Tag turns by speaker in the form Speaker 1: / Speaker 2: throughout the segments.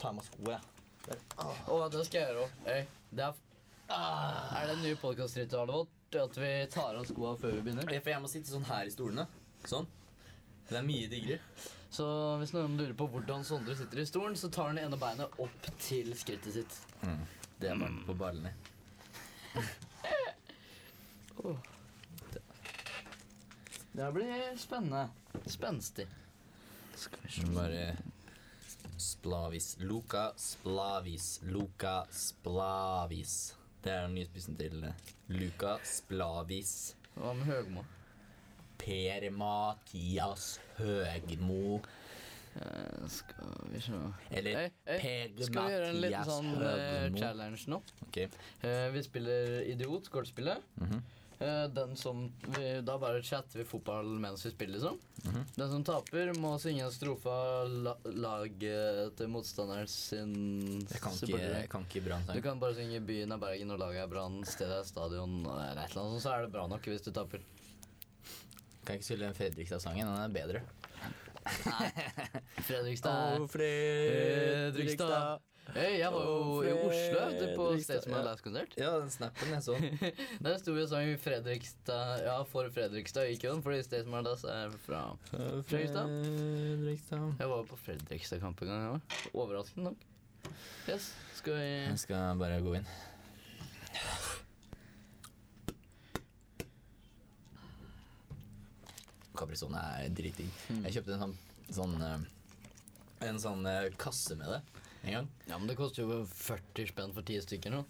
Speaker 1: tar med skoene.
Speaker 2: Og det skal jeg gjøre òg. Det er, Ah, er det en ny podkastritualet vårt? At vi tar av skoa før vi begynner?
Speaker 1: For jeg må sitte sånn her i stolene. Sånn. Det er mye diggere.
Speaker 2: Så hvis noen lurer på hvordan Sondre sitter i stolen, så tar han det ene beinet opp til skrittet sitt.
Speaker 1: Det er mange Mm. på ballene.
Speaker 2: Det her blir spennende. Spenstig.
Speaker 1: Bare Splavis. Luka Splavis. Luka Splavis. Det er den nye spissen til eh, Luka Splavis.
Speaker 2: Hva med Høgmo?
Speaker 1: Per Mathias Høgmo.
Speaker 2: Eh, Skal vi se
Speaker 1: Eller
Speaker 2: Hei, hei,
Speaker 1: Per
Speaker 2: Skal vi gjøre en liten
Speaker 1: Mathias
Speaker 2: sånn eh,
Speaker 1: Høgmo.
Speaker 2: challenge nå?
Speaker 1: Ok.
Speaker 2: Eh, vi spiller Idiot, kortspillet.
Speaker 1: Mhm.
Speaker 2: Eh, den som vi, Da bare chatter vi fotball mens vi spiller, liksom.
Speaker 1: Mhm.
Speaker 2: Den som taper, må synge en strofe av la, laget til motstanderen sin
Speaker 1: Jeg kan ikke,
Speaker 2: supportere.
Speaker 1: jeg kan ikke bra
Speaker 2: Du
Speaker 1: sang.
Speaker 2: kan bare synge 'Byen er Bergen og laget er Brann', 'Stedet er stadion' eller et eller annet, sånt, så er det bra nok hvis du taper.
Speaker 1: Kan ikke spille den Fredrikstad-sangen. Den er bedre.
Speaker 2: Fredrikstad er
Speaker 1: Fredrikstad.
Speaker 2: Hei, jeg var jo i
Speaker 1: Å,
Speaker 2: Oslo vet du, på
Speaker 1: Fredrikstad,
Speaker 2: Staysman
Speaker 1: ja.
Speaker 2: Last-konsert.
Speaker 1: Ja, den snappen jeg så.
Speaker 2: Der sto vi og sang Fredrikstad Ja, for Fredrikstad gikk jo den, fordi Staysman Last er fra Fredrikstad.
Speaker 1: Eh, Fredrikstad.
Speaker 2: Jeg var jo på Fredrikstad-kamp en gang. jeg var. Overraskende nok. Yes, skal vi
Speaker 1: Jeg skal bare gå inn. Caprisone er dritdigg.
Speaker 2: Mm.
Speaker 1: Jeg kjøpte en sånn, sånn eh, En sånn eh, kasse med det en gang.
Speaker 2: Ja, men det koster jo 40 spenn for 10 stykker nå.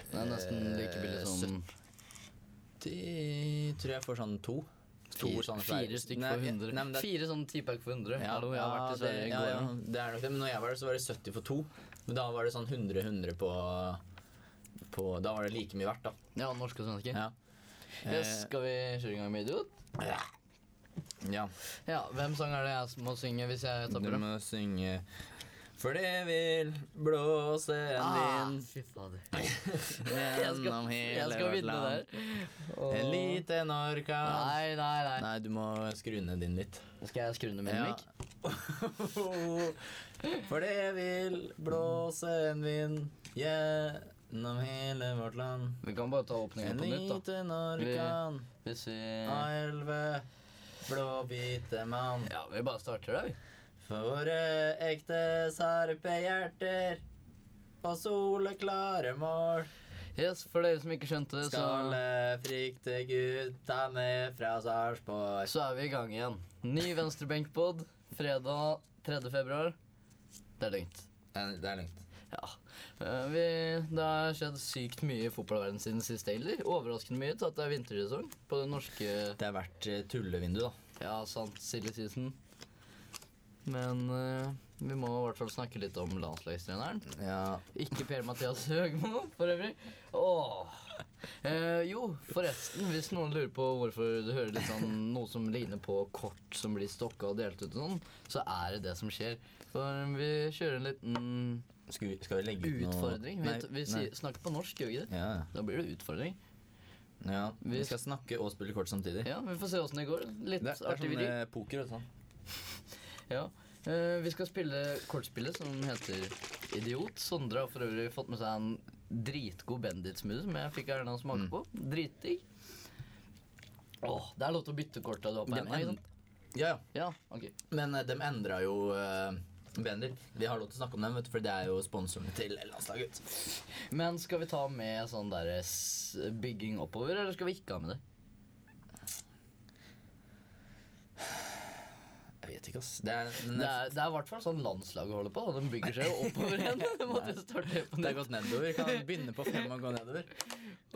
Speaker 2: Det er nesten like
Speaker 1: Eh,
Speaker 2: billig som
Speaker 1: De tror jeg får sånn to. To
Speaker 2: fire,
Speaker 1: sånne svære-
Speaker 2: fire stykker
Speaker 1: Nei,
Speaker 2: for 100.
Speaker 1: Nei, men det er
Speaker 2: Fire sånne tipack for 100.
Speaker 1: Ja,
Speaker 2: Hallo, jeg har vært i Sverige i
Speaker 1: det, ja,
Speaker 2: går.
Speaker 1: ja, det er nok det. Men når jeg var der, så var det 70 for to. Men da var det sånn 100-100 på, på Da var det like mye verdt, da.
Speaker 2: Ja, norske og svenske.
Speaker 1: Ja.
Speaker 2: Yes, skal vi kjøre i gang med Idiot?
Speaker 1: Eh, ja.
Speaker 2: Ja, Hvem sang er det jeg som må synge hvis jeg
Speaker 1: Du
Speaker 2: tapper?
Speaker 1: må synge For det vil blåse en vind
Speaker 2: fy fader. Jeg Ah. skal,
Speaker 1: gjennom hele
Speaker 2: jeg skal
Speaker 1: vårt
Speaker 2: vinne
Speaker 1: land.
Speaker 2: der.
Speaker 1: En
Speaker 2: Åh.
Speaker 1: liten orkan
Speaker 2: Nei, nei, nei.
Speaker 1: Nei, du må skru ned din litt.
Speaker 2: Skal jeg skru ned min
Speaker 1: Ja.
Speaker 2: mic?
Speaker 1: For det vil blåse en vind gjennom hele vårt land.
Speaker 2: Vi kan bare ta
Speaker 1: En
Speaker 2: åpningen på nytt, da.
Speaker 1: liten orkan
Speaker 2: Hvis vi
Speaker 1: av elleve blåhvite mann.
Speaker 2: Ja, vi bare starter der, vi.
Speaker 1: For våre ekte sarpehjerter og soleklare mål
Speaker 2: Yes, for dere som ikke skjønte det,
Speaker 1: skal
Speaker 2: så,
Speaker 1: det frykte gutta med fra Sarpsborg.
Speaker 2: så er vi i gang igjen. Ny venstrebenkpod fredag 3. februar. Det er lugnt.
Speaker 1: Det er langt.
Speaker 2: Ja. Eh, Vi, det har skjedd sykt mye i fotballverdenen siden sist, egentlig. Overraskende mye til at det er vintersesong på det norske
Speaker 1: Det er verdt eh, tullevindu, da.
Speaker 2: Ja, sant, silly season. Men eh, vi må i hvert fall snakke litt om landslagstreneren.
Speaker 1: Ja.
Speaker 2: Ikke Per-Mathias Høgmo, for øvrig. Åh. Eh, jo, forresten, hvis noen lurer på hvorfor du hører litt sånn noe som ligner på kort som blir stokka og delt ut og sånn, så er det det som skjer. For um, vi kjører en liten
Speaker 1: Skal vi, skal vi legge ut noe
Speaker 2: utfordring. Vi,
Speaker 1: Nei,
Speaker 2: vi
Speaker 1: nei.
Speaker 2: sier, snakker på norsk, gjør vi ikke det?
Speaker 1: Ja, ja.
Speaker 2: Da blir det utfordring.
Speaker 1: ja. Vi
Speaker 2: Vi-
Speaker 1: skal snakke og spille kort samtidig.
Speaker 2: Ja, vi får se åssen det går. Litt
Speaker 1: Det er, det er
Speaker 2: artig
Speaker 1: sånn
Speaker 2: vri.
Speaker 1: eh, poker og sånn.
Speaker 2: Ja. eh, vi skal spille kortspillet som heter Idiot. Sondre har for øvrig fått med seg en dritgod Bendit-smoothie som jeg fikk Erna å smake
Speaker 1: Mm.
Speaker 2: på. Dritdigg. Åh, det er lov til å bytte korta du har på
Speaker 1: Dem
Speaker 2: hendene. ikke
Speaker 1: en-
Speaker 2: sant?
Speaker 1: Ja, ja.
Speaker 2: Ja, ok.
Speaker 1: Men eh, de endra jo eh, Bender. Vi har lov til å snakke om dem, vet du, for det er jo sponsorene til landslaget.
Speaker 2: Men skal vi ta med sånn der s- bygging oppover, eller skal vi ikke ha med det?
Speaker 1: Jeg vet ikke, ass. Det er,
Speaker 2: Det er, det er i hvert fall sånn landslaget holder på. da. De bygger seg jo oppover igjen. Det måtte jo starte
Speaker 1: det
Speaker 2: på nytt.
Speaker 1: er gått nedover. Kan begynne på fem og gå nedover.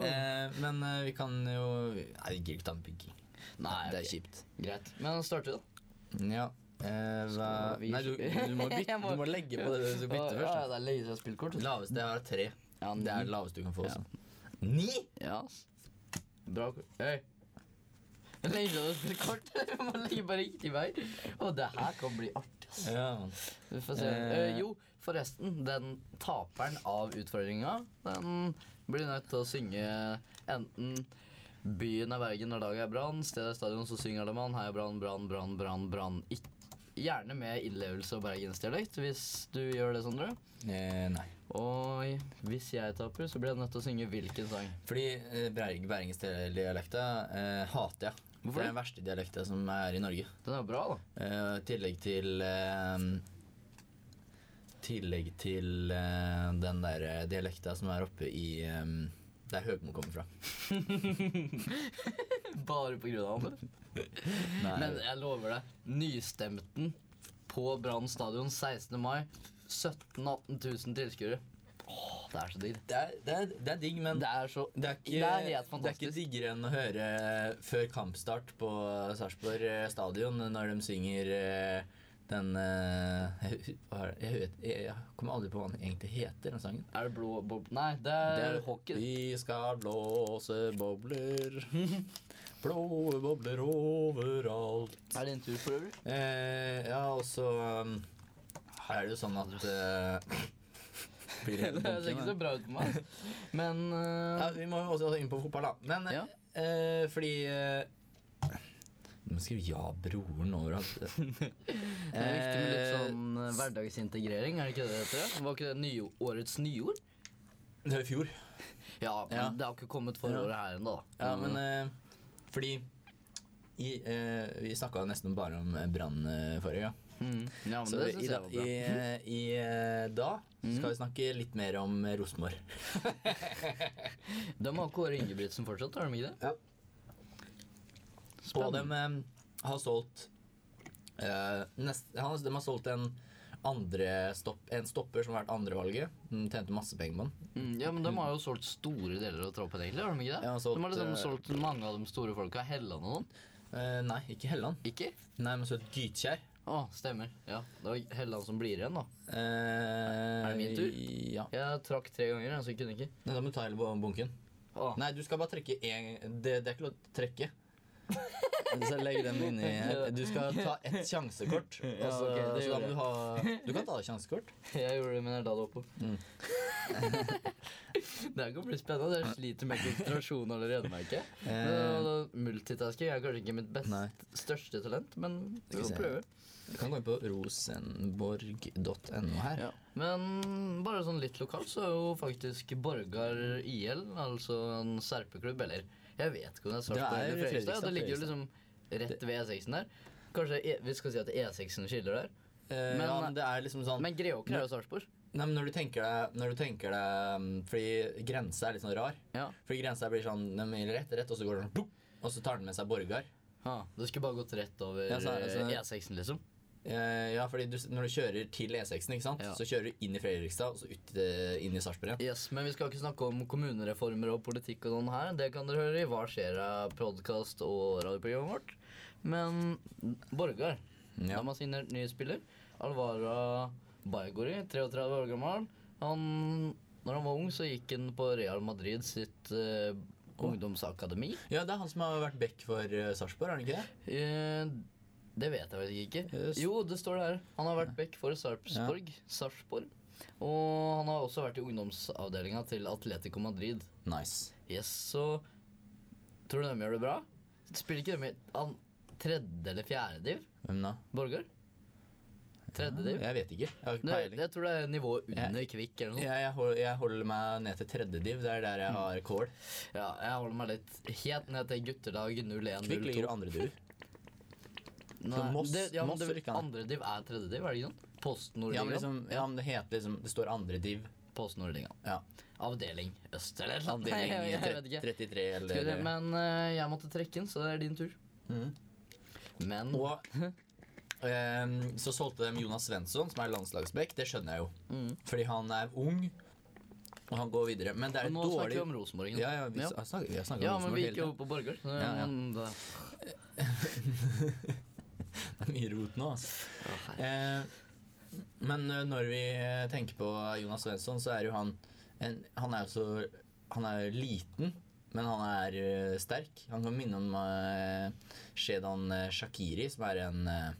Speaker 1: Eh, men eh, vi kan jo Nei, vi gidder ikke ta en bygging.
Speaker 2: Nei,
Speaker 1: det er
Speaker 2: ok.
Speaker 1: kjipt.
Speaker 2: Greit. Men starter vi, da.
Speaker 1: Ja. Eh, hva
Speaker 2: Skal vi-
Speaker 1: Nei, du, du, må bytte, du må legge på det du skal bytte
Speaker 2: Ja, ja,
Speaker 1: først.
Speaker 2: det er lenge siden jeg har spilt kort.
Speaker 1: da. Laveste jeg har, er tre.
Speaker 2: Ja,
Speaker 1: Det er det laveste du kan få. Også. Ni?!
Speaker 2: Ja. ass. Bra ko- Hei. Legg deg ned for kort. Du må ligge bare riktig vei. Og det her kan bli artig. ass.
Speaker 1: Ja.
Speaker 2: Vi får se.
Speaker 1: Eh.
Speaker 2: Eh, jo, forresten. Den taperen av utfordringa, den blir nødt til å synge enten Byen er Bergen når dagen er brann, stedet er stadion, så synger de man Hei, brann, brann, brann, brann, brann. Ikke gjerne med innlevelse av bergensdialekt, hvis du gjør det, Sondre.
Speaker 1: Eh, nei.
Speaker 2: Og hvis jeg taper, så blir jeg nødt til å synge hvilken sang.
Speaker 1: Fordi eh, Breivik Bæringsdialekta eh, hater jeg. det
Speaker 2: Hvorfor
Speaker 1: er
Speaker 2: det?
Speaker 1: den verste dialekta som er i Norge.
Speaker 2: Den er bra, da.
Speaker 1: Eh, I tillegg til eh, tillegg til eh, den der eh, dialekta som er oppe i eh, der Høgmo kommer fra.
Speaker 2: Bare på grunn av det.
Speaker 1: Nei,
Speaker 2: Men jeg lover deg, nystemten på Brann stadion 16. mai. 17 000-18 000 tilskuere. Åh, det er så digg.
Speaker 1: det, er, det, er, det er digg, men
Speaker 2: Det er så
Speaker 1: Det er,
Speaker 2: Det
Speaker 1: ikke,
Speaker 2: er helt
Speaker 1: det er ikke
Speaker 2: fantastisk.
Speaker 1: diggere enn å høre eh, før kampstart på Sarpsborg eh, stadion når de synger eh, den eh, jeg, hu- hva er det? jeg, vet, jeg kommer aldri på hva den egentlig heter, den sangen.
Speaker 2: Er det blå bob... Nei, det er, hockey.
Speaker 1: Eh, Vi skal blåse bobler, blå bobler overalt.
Speaker 2: Er det en tur for øvrig?
Speaker 1: Eh, ja, og så um, er det jo sånn at eh, blir
Speaker 2: Det
Speaker 1: helt
Speaker 2: ser
Speaker 1: bunken,
Speaker 2: ikke
Speaker 1: da.
Speaker 2: så bra ut på meg. Men
Speaker 1: Ja,
Speaker 2: eh,
Speaker 1: vi må jo også inn på fotball, da. Men
Speaker 2: Ja.
Speaker 1: eh, fordi eh, Nå skriver ja broren overalt.
Speaker 2: det er viktig med litt sånn eh, hverdagsintegrering, er det ikke det det heter? Var ikke det nye, årets nyord?
Speaker 1: Eh, Det var i fjor.
Speaker 2: Ja, men
Speaker 1: Ja.
Speaker 2: det har ikke kommet for
Speaker 1: Ja.
Speaker 2: året her ennå.
Speaker 1: Ja, men eh, fordi i, eh, Vi snakka nesten bare om eh, Brann eh, forrige gang.
Speaker 2: mm. ja, men
Speaker 1: Så
Speaker 2: det
Speaker 1: i,
Speaker 2: syns
Speaker 1: da,
Speaker 2: jeg
Speaker 1: i,
Speaker 2: var bra. Mhm.
Speaker 1: eh, i eh, da skal vi snakke litt mer om eh, Rosenborg.
Speaker 2: De har Kåre Ingebrigtsen fortsatt, har de ikke det?
Speaker 1: Og de eh, har solgt eh, nest, han, De har solgt en andre stopp, en stopper som har vært andrevalget. De tjente masse penger på den.
Speaker 2: Mm, ja, men de har jo solgt store deler av troppen, egentlig. har De ikke det?
Speaker 1: Ja, solgt,
Speaker 2: de har liksom
Speaker 1: eh,
Speaker 2: solgt mange av de store folka. Helland og noen.
Speaker 1: Eh, nei, ikke Helland.
Speaker 2: Ikke?
Speaker 1: Nei, men så et Gytkjær.
Speaker 2: Å, stemmer. Ja, Det var Helland som blir igjen, da.
Speaker 1: Eh, er
Speaker 2: det min tur?
Speaker 1: Ja.
Speaker 2: Jeg trakk tre ganger, så jeg kunne ikke.
Speaker 1: Nei, da må du ta hele bu- bunken.
Speaker 2: Å,
Speaker 1: Nei, du skal bare trekke én det, det er ikke lov til å trekke. Så legg den inni her. Du skal ta ett sjansekort. Og
Speaker 2: Ja,
Speaker 1: så,
Speaker 2: ok, det
Speaker 1: så da
Speaker 2: gjorde
Speaker 1: må du ha Du kan ta sjansekort.
Speaker 2: Jeg gjorde det, men jeg la det oppå.
Speaker 1: Mm.
Speaker 2: det her kan bli spennende. Jeg sliter med konsentrasjon allerede, merker jeg.
Speaker 1: Eh,
Speaker 2: Men, og da, Multitasking er kanskje ikke mitt best,
Speaker 1: Nei.
Speaker 2: største talent, men
Speaker 1: Skal
Speaker 2: vi
Speaker 1: vi se.
Speaker 2: får prøve.
Speaker 1: Du kan gå inn på rosenborg.no her.
Speaker 2: Men bare sånn litt lokalt så er jo faktisk Borgar IL, altså en serpeklubb, eller jeg vet ikke om det er
Speaker 1: Det
Speaker 2: Sarpsborg
Speaker 1: er
Speaker 2: eller Fredrikstad.
Speaker 1: Fredrikstad,
Speaker 2: Det ligger jo liksom rett ved E6-en der. Kanskje e vi skal si at E6-en skiller der.
Speaker 1: Eh,
Speaker 2: Men-
Speaker 1: ja, men det er liksom sånn
Speaker 2: Men Greåker er jo Sarpsborg.
Speaker 1: Nei, men når du tenker deg Når du tenker deg mm, Fordi grensa er litt sånn rar.
Speaker 2: Ja.
Speaker 1: Fordi grensa blir sånn den vil rett, rett, og så går den sånn, plopp, og så tar den med seg Borgar.
Speaker 2: Ha, det skulle bare gått rett over
Speaker 1: Ja, så er det sånn-
Speaker 2: eh, E6-en, liksom.
Speaker 1: Eh, ja, fordi du, når du kjører til E6-en, ikke sant?
Speaker 2: Ja.
Speaker 1: så kjører du inn i Fredrikstad og så ut, eh, inn i Sarpsborg igjen.
Speaker 2: Yes, Men vi skal ikke snakke om kommunereformer og politikk og sånn her. Det kan dere høre i Hva skjer av podkast og radioprogrammet vårt. Men Borgar
Speaker 1: Ja.
Speaker 2: De har signert ny spiller. Alvara Baigori, 33 år gammel. Han, når han var ung, så gikk han på Real Madrid sitt eh, ungdomsakademi.
Speaker 1: ja, det er han som har vært back for eh, Sarpsborg, er han ikke det?
Speaker 2: Eh, det vet jeg faktisk ikke.
Speaker 1: Yes.
Speaker 2: Jo, det står det her. Han har vært back for Sarpsborg. Sarpsborg. Og han har også vært i ungdomsavdelinga til Atletico Madrid.
Speaker 1: Nice.
Speaker 2: Yes, så Tror du de gjør det bra? Spiller ikke de i an- tredje eller fjerde div?
Speaker 1: Hvem da?
Speaker 2: Borgar? Tredje div?
Speaker 1: Jeg vet ikke. Jeg har ikke
Speaker 2: Nei,
Speaker 1: peiling.
Speaker 2: jeg tror det er nivået under Kvikk eller noe. Mm.
Speaker 1: Jeg, jeg, hold, jeg holder meg ned til tredje div. Det er der jeg har kål.
Speaker 2: Ja, jeg holder meg litt helt ned til guttelag 01,
Speaker 1: Kvikk ligger
Speaker 2: 02.
Speaker 1: jo andre div.
Speaker 2: Nei,
Speaker 1: Moss-
Speaker 2: det, ja, men
Speaker 1: Moss
Speaker 2: det,
Speaker 1: rykker ned.
Speaker 2: andre div er tredje div, er det ikke sånn?
Speaker 1: Ja, men,
Speaker 2: PostNordligaen.
Speaker 1: liksom, ja, men det heter liksom Det står andre div.
Speaker 2: PostNordligaen.
Speaker 1: Ja.
Speaker 2: Avdeling øst, eller noe.
Speaker 1: Avdeling
Speaker 2: Nei, jeg, jeg vet ikke.
Speaker 1: 33
Speaker 2: Skal vi se,
Speaker 1: eller
Speaker 2: Men eh, jeg måtte trekke den, så det er din tur.
Speaker 1: Mhm.
Speaker 2: Men
Speaker 1: Mm. Og ehm, så solgte de Jonas Svensson, som er landslagsback. Det skjønner jeg jo.
Speaker 2: Mhm.
Speaker 1: Fordi han er ung, og han går videre. Men det er
Speaker 2: Og
Speaker 1: et
Speaker 2: nå snakker
Speaker 1: dårlig
Speaker 2: vi om Rosenborg. nå.
Speaker 1: Ja, ja, vi
Speaker 2: ja.
Speaker 1: har snakket, vi har snakket
Speaker 2: Ja,
Speaker 1: om
Speaker 2: men
Speaker 1: Rosenborg
Speaker 2: vi
Speaker 1: hele
Speaker 2: gikk jo på Borgar. så-
Speaker 1: Ja, ja.
Speaker 2: men eh, da-
Speaker 1: tiden. Mye rot nå, altså. Eh, men eh, når vi eh, tenker på Jonas Svensson, så er jo han en, Han er jo så Han er jo liten, men han er eh, sterk. Han kan minne om eh, Shedan eh, Shakiri, som er en eh,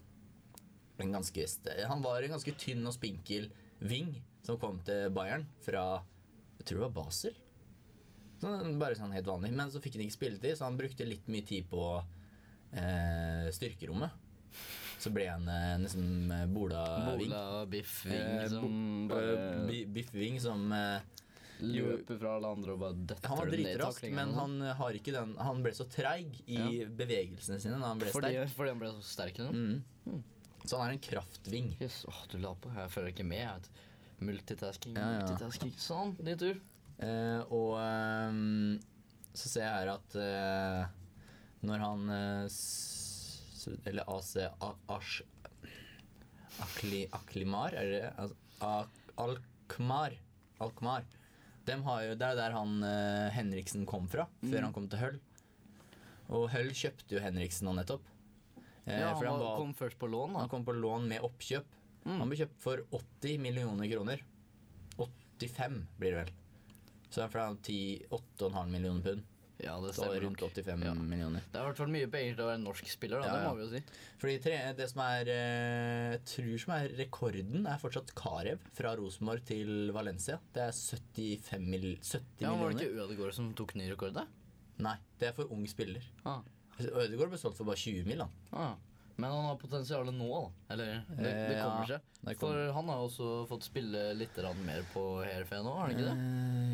Speaker 1: en ganske st- Han var en ganske tynn og spinkel ving som kom til Bayern fra Jeg tror det var Basel. Sånn, bare sånn helt vanlig. Men så fikk han ikke spilletid, så han brukte litt mye tid på eh, styrkerommet. så ble han eh, nesten eh, bolaving.
Speaker 2: Bola Biff
Speaker 1: Eh,
Speaker 2: Wing som
Speaker 1: bo- eh,
Speaker 2: bare
Speaker 1: Bi- Biff Wing som eh,
Speaker 2: løper fra alle andre og bare døtter
Speaker 1: Han var
Speaker 2: dem ned i
Speaker 1: dritrask,
Speaker 2: taklingen
Speaker 1: men
Speaker 2: og
Speaker 1: han, eh, har ikke den, han ble så treig i bevegelsene sine da han ble
Speaker 2: Fordi,
Speaker 1: sterk.
Speaker 2: fordi han ble så sterk nå?
Speaker 1: Mm. Så han er en kraftving.
Speaker 2: Yes, åh, du la på. Jeg følger ikke med. jeg vet. Multitasking,
Speaker 1: Ja, ja.
Speaker 2: multitasking. Sånn, din tur.
Speaker 1: Eh, og ehm, så ser jeg her at eh, når han eh, s- Eller AC A- Ash Akli, Aklimar, er det altså, A- Alkmaar. Alkmaar. Dem har jo, det er der han eh, Henriksen kom fra, før
Speaker 2: Mm.
Speaker 1: han kom til Høll. Og Høll kjøpte jo Henriksen nå nettopp. Eh,
Speaker 2: Ja,
Speaker 1: for
Speaker 2: han
Speaker 1: han,
Speaker 2: var,
Speaker 1: var,
Speaker 2: kom først på lån, da.
Speaker 1: han kom på lån med oppkjøp. Han ble kjøpt for 80 millioner kroner. 85 blir det vel. Så det er fra 10 8,5 millioner pund.
Speaker 2: Ja, det
Speaker 1: Så
Speaker 2: stemmer.
Speaker 1: rundt
Speaker 2: nok.
Speaker 1: 85
Speaker 2: Ja.
Speaker 1: millioner.
Speaker 2: Det er i hvert fall mye penger til å være en norsk spiller, da.
Speaker 1: Ja,
Speaker 2: det
Speaker 1: ja.
Speaker 2: må vi jo si.
Speaker 1: Fordi tre, det som er eh, jeg tror som er rekorden, er fortsatt Karev fra Rosenborg til Valencia. Det er 75 mil, 70
Speaker 2: Ja, var det
Speaker 1: millioner.
Speaker 2: ikke Ødegaard som tok ny rekord, da?
Speaker 1: Nei, det er for ung spiller.
Speaker 2: Ah.
Speaker 1: Ødegaard ble solgt for bare 20 mill. han.
Speaker 2: Ah. Men han har potensial nå, da. Eller det, det
Speaker 1: Eh, ja,
Speaker 2: kommer seg.
Speaker 1: det kommer.
Speaker 2: For han har også fått spille litt grann mer på Hairfe nå, har han ikke det?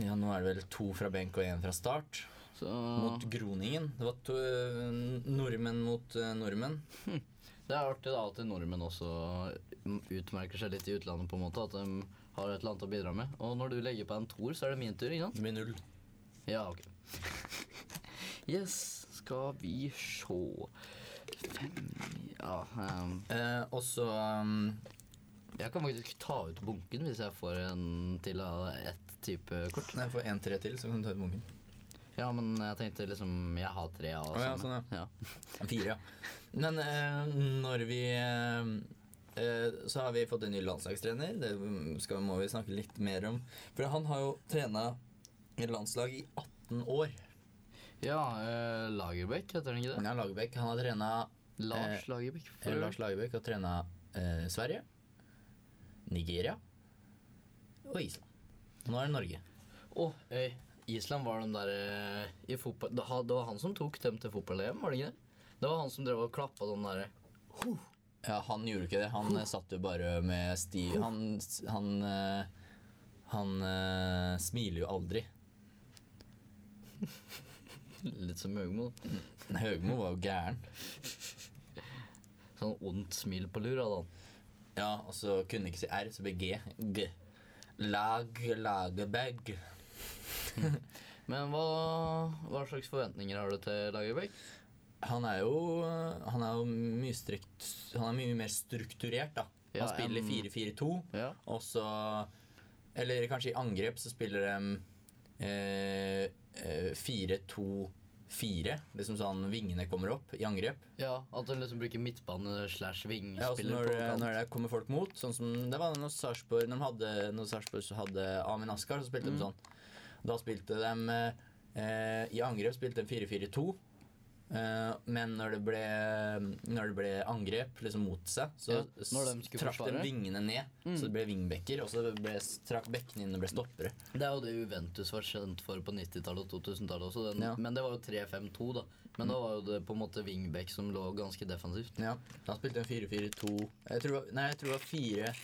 Speaker 1: Eh, Ja, nå er det vel to fra benk og én fra start.
Speaker 2: Så
Speaker 1: Mot Groningen. Det var to, eh, nordmenn mot eh, nordmenn.
Speaker 2: det er artig da at nordmenn også utmerker seg litt i utlandet, på en måte. At de har et eller annet å bidra med. Og når du legger på en toer, så er det min tur, ikke sant?
Speaker 1: Det blir null.
Speaker 2: Ja, ok. Yes, skal vi sjå Fem Ja. ehm,
Speaker 1: Eh, og så um,
Speaker 2: jeg kan faktisk ta ut bunken hvis jeg får en til av ett type kort.
Speaker 1: Når jeg får én tre til, så kan du ta ut bunken.
Speaker 2: Ja, men jeg tenkte liksom Jeg har tre av
Speaker 1: Å, ja,
Speaker 2: samme.
Speaker 1: sånn, Fire, ja. Men eh, når vi eh, eh, Så har vi fått en ny landslagstrener. Det mm, skal, må vi snakke litt mer om. For han har jo trena et landslag i 18 år.
Speaker 2: Ja, eh, Lagerbäck, heter han ikke det?
Speaker 1: Ja, Lagerbäck. Han har trena
Speaker 2: Lars Lagerbäck. for
Speaker 1: eh,
Speaker 2: øvrig.
Speaker 1: Lars Lagerbäck har trena eh, Sverige, Nigeria og Island. Og nå er det Norge.
Speaker 2: Å, eh, Island var de der eh, i fotball... Det ha- det var han som tok dem til fotball-EM, var det ikke det? Det var han som drev og klappa den derre
Speaker 1: Ja, han gjorde ikke det. Han eh, satt jo bare med sti... Han, s- han, eh, han eh, smiler jo aldri.
Speaker 2: Litt som Høgmo. da.
Speaker 1: Høgmo var jo gæren.
Speaker 2: Sånn ondt smil på lur hadde han.
Speaker 1: Ja, og så kunne ikke si R, så ble G. G. Lag, lagerbag.
Speaker 2: Men hva, hva slags forventninger har du til Lagerbäck?
Speaker 1: Han er jo, han er jo mye, strikt, han er mye mer strukturert, da. Han
Speaker 2: Ja,
Speaker 1: spiller
Speaker 2: em-
Speaker 1: 4-4-2,
Speaker 2: Ja.
Speaker 1: og så Eller kanskje i angrep så spiller de eh, eh, 4-2-4. Liksom sånn vingene kommer opp i angrep.
Speaker 2: ja, At han liksom bruker midtbane slash
Speaker 1: Ja, også
Speaker 2: vingspiller
Speaker 1: når,
Speaker 2: på
Speaker 1: det,
Speaker 2: kant.
Speaker 1: når det kommer folk mot, sånn som det var når Sarpsborg når de hadde, når Sarpsborg så hadde Amin Askar, så spilte
Speaker 2: Mm.
Speaker 1: de sånn. Da spilte de eh, eh, I angrep spilte de 4-4-2. eh, men når det, ble, når det ble angrep liksom mot seg, så
Speaker 2: Ja, når de skulle
Speaker 1: trakk de
Speaker 2: forsvare. Mm.
Speaker 1: vingene ned. Så det ble vingbekker, og så ble, trakk bekkene inn og ble stoppere.
Speaker 2: Det er jo det Juventus var kjent for på 90-tallet og 2000-tallet også. Den,
Speaker 1: Ja. Mm.
Speaker 2: Men det var jo 3-5-2, da. Men da var jo det på en måte wingback som lå ganske defensivt.
Speaker 1: Ja, Da spilte de 4-4-2 Jeg tror det var- Nei, jeg tror det var 4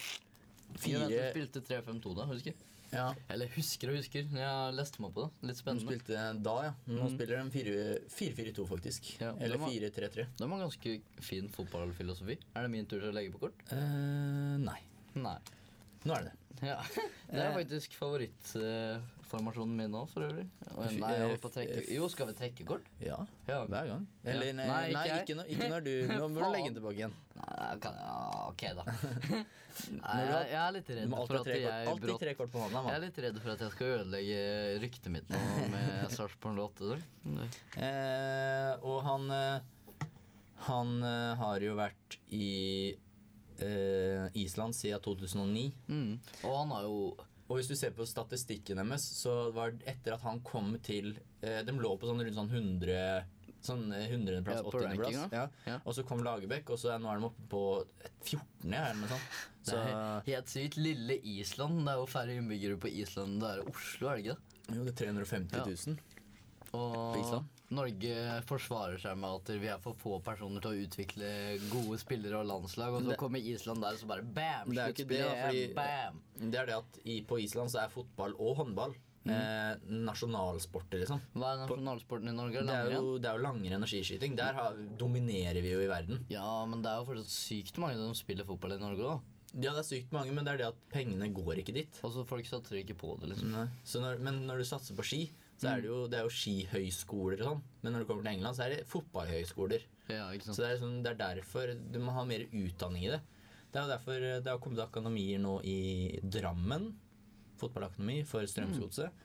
Speaker 2: Juventus
Speaker 1: 4
Speaker 2: spilte 3-5-2 da, husker jeg.
Speaker 1: Ja.
Speaker 2: Eller husker og husker. Jeg leste meg på det. Litt
Speaker 1: De
Speaker 2: spennende. Mm.
Speaker 1: spilte da, ja. Nå spiller de 4- 4-4-2, faktisk.
Speaker 2: Ja,
Speaker 1: Eller
Speaker 2: de har-
Speaker 1: 4-3-3.
Speaker 2: De har ganske fin fotballfilosofi. Er det min tur til å legge på kort?
Speaker 1: Eh, nei. Eh.
Speaker 2: Nei.
Speaker 1: Nå er det det.
Speaker 2: Ja. Det er faktisk favorittformasjonen min nå, for øvrig. Å,
Speaker 1: Fy-
Speaker 2: Nei, jeg holdt på å
Speaker 1: eh,
Speaker 2: trekke
Speaker 1: f-
Speaker 2: Jo, skal vi trekke kort?
Speaker 1: Ja,
Speaker 2: Ja.
Speaker 1: hver gang. Eller,
Speaker 2: Ja.
Speaker 1: nei,
Speaker 2: Nei, ikke
Speaker 1: nei,
Speaker 2: jeg.
Speaker 1: ikke, når- ikke når du Nå må du legge den tilbake igjen.
Speaker 2: Nei, kan, ja, ok, da. Nei,
Speaker 1: Når du har-
Speaker 2: jeg, jeg er litt
Speaker 1: Du
Speaker 2: redd
Speaker 1: må alltid ha
Speaker 2: for at
Speaker 1: tre kort,
Speaker 2: jeg
Speaker 1: alltid
Speaker 2: brått
Speaker 1: tre kort på hånda.
Speaker 2: jeg er
Speaker 1: mann.
Speaker 2: litt redd for at jeg skal ødelegge ryktet mitt nå med Sarpsborg 08. der.
Speaker 1: Eh, og han eh, Han eh, har jo vært i eh, Island siden 2009.
Speaker 2: Mm. Og han har jo
Speaker 1: Og hvis du ser på statistikken deres, så var det etter at han kom til eh, De lå på sånn rundt sånn 100 Sånn eh, 100.-plass,
Speaker 2: Ja, på
Speaker 1: 80.-plass.
Speaker 2: rankinga.
Speaker 1: Ja.
Speaker 2: Ja.
Speaker 1: Og så kom Lagerbäck, og så er, nå er de oppe på 14., eller noe sånt.
Speaker 2: det
Speaker 1: Så,
Speaker 2: er helt sykt lille Island. Det er jo færre innbyggere på Island enn det er i Oslo, er det ikke det?
Speaker 1: jo, det er 350 000
Speaker 2: Og
Speaker 1: på Island.
Speaker 2: Norge forsvarer seg med at vi er for få personer til å utvikle gode spillere og landslag, og så
Speaker 1: Det-
Speaker 2: kommer Island der og så bare bam!
Speaker 1: Det er jo ikke det, da,
Speaker 2: sluttspill,
Speaker 1: fordi-
Speaker 2: bam!
Speaker 1: Det er det at i, på Island så er fotball og håndball
Speaker 2: Mm.
Speaker 1: eh, nasjonalsporter, liksom.
Speaker 2: Hva er nasjonalsporten i Norge?
Speaker 1: Det er,
Speaker 2: Langrenn?
Speaker 1: jo, det er jo langrenn og skiskyting. Der har, dominerer vi jo i verden.
Speaker 2: Ja, men det er jo fortsatt sykt mange som spiller fotball i Norge, da.
Speaker 1: Ja, det er sykt mange, men det er det at pengene går ikke dit.
Speaker 2: Og så folk satser ikke på det, liksom.
Speaker 1: Nei. Så når, men når du satser på ski, så er det jo, det er jo skihøyskoler og sånn. Men når du kommer til England, så er det fotballhøyskoler.
Speaker 2: Ja,
Speaker 1: Så
Speaker 2: ikke sant?
Speaker 1: det er, liksom, det er derfor du må ha mer utdanning i det. Det er jo derfor det har kommet akademier nå i Drammen. Fotballakademi for Strømsgodset.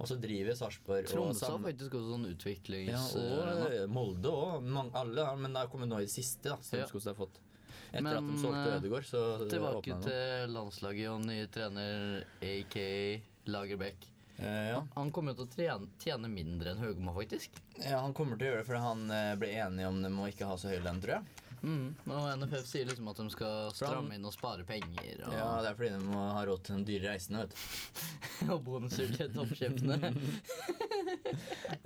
Speaker 1: Og så driver Sarpsborg og
Speaker 2: Tromsø har
Speaker 1: Sand-
Speaker 2: faktisk også sånn
Speaker 1: Ja,
Speaker 2: utviklings...
Speaker 1: og
Speaker 2: eh,
Speaker 1: eh, Molde òg. Alle har, men det har kommet nå i det siste. da Strømsgodset har fått. Etter
Speaker 2: Men,
Speaker 1: at de solgte
Speaker 2: eh,
Speaker 1: Ødegård, så åpna
Speaker 2: Tilbake
Speaker 1: de nå.
Speaker 2: til landslaget og ny trener aka Lagerbäck.
Speaker 1: Eh, ja.
Speaker 2: Han kommer jo til å trene, tjene mindre enn Høgmo, faktisk.
Speaker 1: ja, han kommer til å gjøre det fordi han eh, ble enig om dem å ikke ha så høy lønn, tror jeg.
Speaker 2: Mm. Og NFF sier liksom at de skal
Speaker 1: For han-
Speaker 2: stramme inn og spare penger. Og,
Speaker 1: Ja, det er fordi de må ha råd til den dyre reisen. Vet du.
Speaker 2: og bonuser til toppsjefene.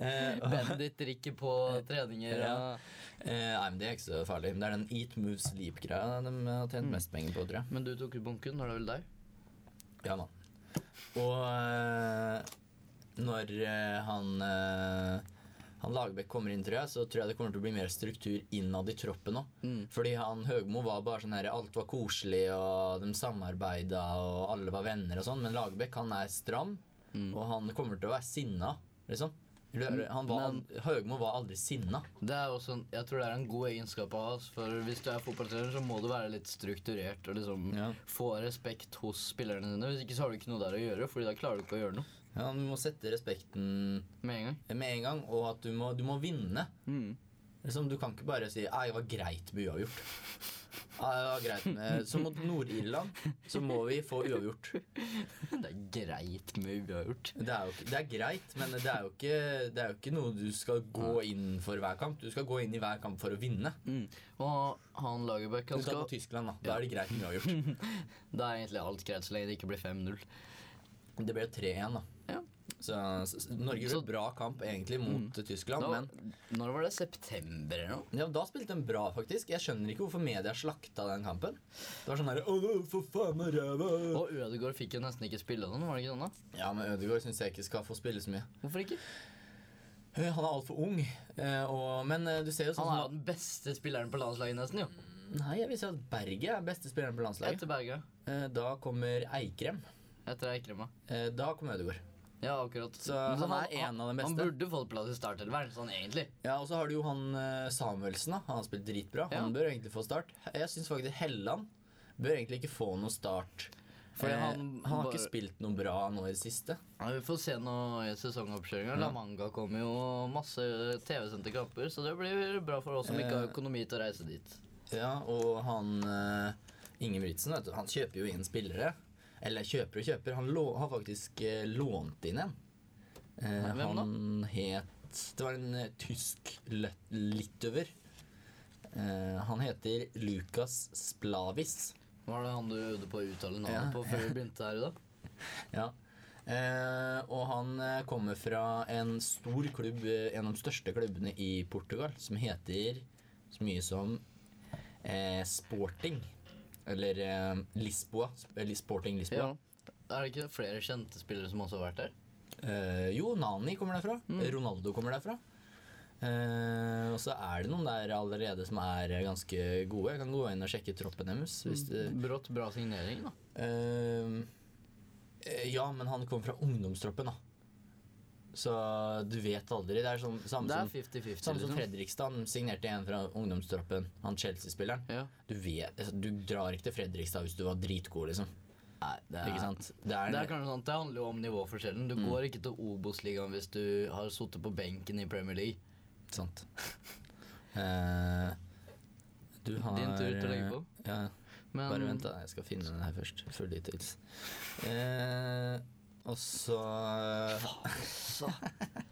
Speaker 1: Eh,
Speaker 2: Bendit drikker på treninger.
Speaker 1: Ja.
Speaker 2: og-
Speaker 1: eh, nei, men Det er ikke så farlig. Men Det er den eat, move, sleep-greia de har tjent mest penger på, tror jeg.
Speaker 2: Men du tok jo bunken, var det vel deg?
Speaker 1: Ja da. Og eh, når eh, han eh, han Lagerbäck kommer inn, tror jeg, så tror jeg det kommer til å bli mer struktur innad i troppen òg.
Speaker 2: Mm.
Speaker 1: Fordi han Høgmo var bare sånn her Alt var koselig, og de samarbeida, og alle var venner og sånn. Men Lagerbäck, han er stram,
Speaker 2: Mm.
Speaker 1: og han kommer til å være sinna, liksom. Eller, Han var,
Speaker 2: Men-
Speaker 1: Høgmo var aldri sinna.
Speaker 2: Det er også en, jeg tror det er en god egenskap av oss, for hvis du er fotballtrener, så må du være litt strukturert og liksom
Speaker 1: Ja.
Speaker 2: få respekt hos spillerne dine. Hvis ikke så har du ikke noe der å gjøre, Fordi da klarer du ikke å gjøre noe
Speaker 1: Ja, du må sette respekten
Speaker 2: med en gang.
Speaker 1: med en gang, og at du må, du må vinne. Liksom, du kan ikke bare si «Nei, det var greit med uavgjort'. Ja, det var greit med Så mot Nord-Irland så må vi få uavgjort.
Speaker 2: Det
Speaker 1: Mm.
Speaker 2: er greit med uavgjort.
Speaker 1: Det er, jo, ikke- det er greit, men det er, jo ikke, det er jo ikke noe du skal gå inn for hver kamp. Du skal gå inn i hver kamp for å vinne.
Speaker 2: Og han Lagerbäck,
Speaker 1: Du
Speaker 2: han
Speaker 1: skal
Speaker 2: skal
Speaker 1: på Tyskland, da. Da er det greit med uavgjort.
Speaker 2: Da er egentlig alt greit så lenge det ikke blir 5-0.
Speaker 1: Det ble jo 3-1, da.
Speaker 2: Ja.
Speaker 1: Så, så Norge gjorde
Speaker 2: Så- Mm.
Speaker 1: en bra kamp egentlig mot Tyskland,
Speaker 2: Da,
Speaker 1: men
Speaker 2: når var det? September eller noe?
Speaker 1: Ja, Da spilte de bra, faktisk. Jeg skjønner ikke hvorfor media slakta den kampen. Det var sånn her, Åh, for faen av ræva
Speaker 2: Og Ødegaard fikk jo nesten ikke spille den, var det ikke sånn da?
Speaker 1: Ja, men Ødegaard syns jeg ikke skal få spille så mye.
Speaker 2: Hvorfor ikke?
Speaker 1: Eh, Han er altfor ung. eh, Og, men eh, du ser jo sånn
Speaker 2: Han er jo
Speaker 1: som
Speaker 2: den beste spilleren på landslaget nesten, jo.
Speaker 1: Nei, jeg vil si at Berge er beste spilleren på landslaget.
Speaker 2: Etter Berga.
Speaker 1: Eh, Da kommer Eikrem.
Speaker 2: Etter Eikrema.
Speaker 1: Eh, Da kommer Ødegaard.
Speaker 2: Ja, akkurat.
Speaker 1: Så
Speaker 2: Men
Speaker 1: han er en av de beste.
Speaker 2: Han burde fått plass i startelveren, sånn egentlig.
Speaker 1: Ja, Og så har du jo han eh, Samuelsen. da. Han har spilt dritbra.
Speaker 2: Ja.
Speaker 1: Han bør egentlig få start. Jeg syns faktisk Helland bør egentlig ikke få noe start.
Speaker 2: Fordi
Speaker 1: Eh, han,
Speaker 2: han
Speaker 1: har
Speaker 2: bare-
Speaker 1: ikke spilt noe bra nå i det siste.
Speaker 2: Ja, vi får se nå i sesongoppkjøringa. La Manga kommer jo og masse TV-sendte kamper, så det blir bra for oss som ikke har
Speaker 1: Eh.
Speaker 2: økonomi til å reise dit.
Speaker 1: Ja, og han eh, Ingebrigtsen, vet du, han kjøper jo inn spillere. Eller kjøper og kjøper. Han lå, har faktisk eh, lånt inn en. Eh,
Speaker 2: Nei, hvem da?
Speaker 1: han het Det var en eh, tysk lø- litøver. Eh, han heter Lukas Splavis.
Speaker 2: Var det han du øvde på å uttale
Speaker 1: Ja.
Speaker 2: navnet på før vi begynte her i dag?
Speaker 1: Ja. Eh, og han eh, kommer fra en stor klubb, eh, en av de største klubbene i Portugal, som heter så mye som eh, Sporting. Eller eh, Lisboa. Sp- Eller Sporting Lisboa.
Speaker 2: Er det ikke flere kjente spillere som også har vært der?
Speaker 1: Eh, jo, Nani kommer derfra. Ronaldo kommer derfra. Eh, og så er det noen der allerede som er eh, ganske gode. Jeg kan gå inn og sjekke troppen deres. Hvis
Speaker 2: Mm.
Speaker 1: det,
Speaker 2: Brått bra signering, da.
Speaker 1: Ehm, eh, ja, men han kom fra ungdomstroppen, da. Så du vet aldri. Det er sånn, samme,
Speaker 2: Det
Speaker 1: som,
Speaker 2: er 50-50.
Speaker 1: samme som
Speaker 2: liksom.
Speaker 1: Fredrikstad. Han signerte en fra ungdomstroppen, han Chelsea-spilleren.
Speaker 2: Ja.
Speaker 1: Du, vet, altså, du drar ikke til Fredrikstad hvis du var dritgod, liksom.
Speaker 2: Nei, det er,
Speaker 1: Ikke sant? Det er,
Speaker 2: Det er kanskje sant, det handler jo om nivåforskjellen. Du går ikke til Obos-ligaen hvis du har sittet på benken i Premier League.
Speaker 1: sant. Eh, du har eh,
Speaker 2: Din tur til å legge på.
Speaker 1: Ja,
Speaker 2: Men
Speaker 1: bare vent, da. Jeg skal finne den her først. Full details. Eh, og så
Speaker 2: Så.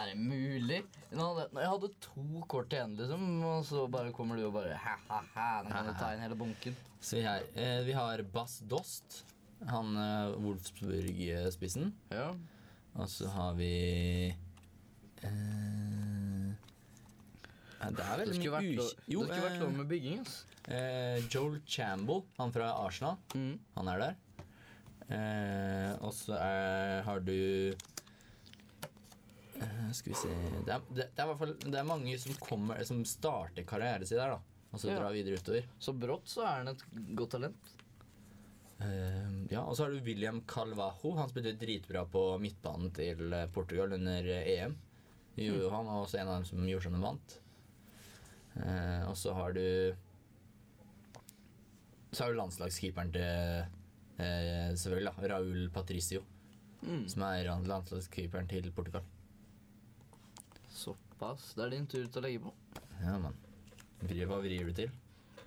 Speaker 2: Er det mulig? Nå hadde, nå, jeg hadde to kort igjen, liksom, og så bare kommer du og bare ha-ha-ha. Nå kan du ta inn hele bunken.
Speaker 1: Se her. Eh, vi har Bass Dost, han eh, Wolfsburg-spissen.
Speaker 2: Ja.
Speaker 1: Og så har vi Eh, ja, det er
Speaker 2: Det
Speaker 1: veldig
Speaker 2: skulle
Speaker 1: mye
Speaker 2: vært lov,
Speaker 1: ukj- Jo,
Speaker 2: det skulle vært
Speaker 1: eh,
Speaker 2: lov med bygging, ass.
Speaker 1: eh, Joel Chamble, han fra Arsenal,
Speaker 2: Mm.
Speaker 1: han er der. Eh, og så er- har du eh, Skal vi se det er, det, det er i hvert fall det er mange som, kommer, som starter karrieren sin der, da. Og så
Speaker 2: Ja.
Speaker 1: drar videre utover.
Speaker 2: Så brått så er han et godt talent.
Speaker 1: Eh, ja, Og så har du William Calvajo. Han spilte dritbra på midtbanen til eh, Portugal under eh, EM. Det gjorde jo han, og også en av dem som gjorde som de vant. Eh, og så har du Så har du landslagskeeperen til eh, Selvfølgelig, da. Raúl Patricio.
Speaker 2: Mm.
Speaker 1: Som er ran- landslagskeeperen til Portugal.
Speaker 2: Såpass. Det er din tur til å legge på.
Speaker 1: Ja, mann. Vri- Hva vrir du til?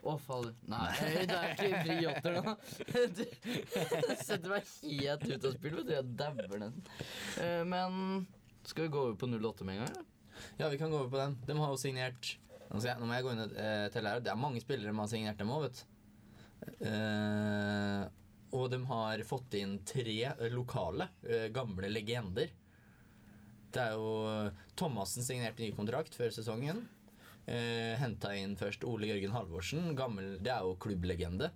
Speaker 2: Å, fader. Nei, det er ikke briotter nå. Du setter meg helt ut av spill, vet du. Jeg dabber nesten. Eh, Men skal vi gå over på 08 med en gang? eller?
Speaker 1: Ja, vi kan gå over på den. De har jo signert Nå, skal jeg, nå må jeg gå inn og eh, telle her. Det er mange spillere de har signert dem òg, vet du. Eh, og de har fått inn tre eh, lokale, eh, gamle legender. Det er jo eh, Thomassen signerte ny kontrakt før sesongen. Uh, Henta inn først Ole Jørgen Halvorsen. Gammel, det er jo klubblegende.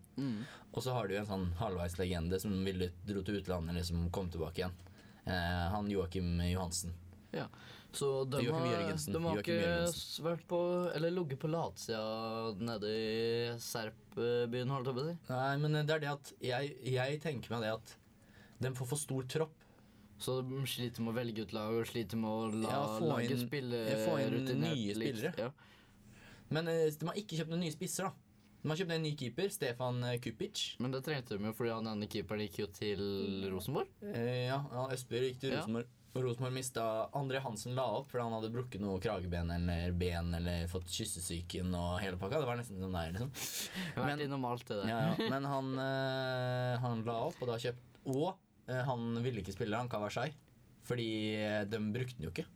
Speaker 1: Og så har du jo en sånn halvveislegende som ville dro til utlandet eller som kom tilbake igjen. Eh, han Joakim Johansen.
Speaker 2: Ja. Så de
Speaker 1: Joakim
Speaker 2: har,
Speaker 1: Jørgensen.
Speaker 2: de har
Speaker 1: Joakim
Speaker 2: ikke
Speaker 1: Jørgensen.
Speaker 2: vært på Eller ligget på latsida nede i Serpbyen, holdt jeg på å si.
Speaker 1: Nei, men eh, det er det at jeg, jeg tenker meg det at de får for stor tropp.
Speaker 2: Så de sliter med å velge ut lag og sliter med å la
Speaker 1: Ja, få
Speaker 2: laget
Speaker 1: inn-
Speaker 2: spille
Speaker 1: ja, få inn
Speaker 2: rutinert
Speaker 1: nye
Speaker 2: litt.
Speaker 1: spillere.
Speaker 2: Ja.
Speaker 1: Men eh, de har ikke kjøpt noen nye spisser, da. De har kjøpt en ny keeper, Stefan eh, Kupic.
Speaker 2: Men det trengte de jo, fordi han ene keeperen gikk jo til Rosenborg.
Speaker 1: Eh, ja, ja, Østby gikk til
Speaker 2: Ja.
Speaker 1: Rosenborg. Og Rosenborg mista André Hansen la opp fordi han hadde brukket noe krageben eller ben eller fått kyssesyken og hele pakka. Det var nesten sånn der, liksom.
Speaker 2: Jeg har vært innom alt det der.
Speaker 1: Ja, ja. Men han, eh, han la opp, og da kjøpt Og eh, han ville ikke spille, han kan være seg. Fordi eh, de brukte den jo ikke.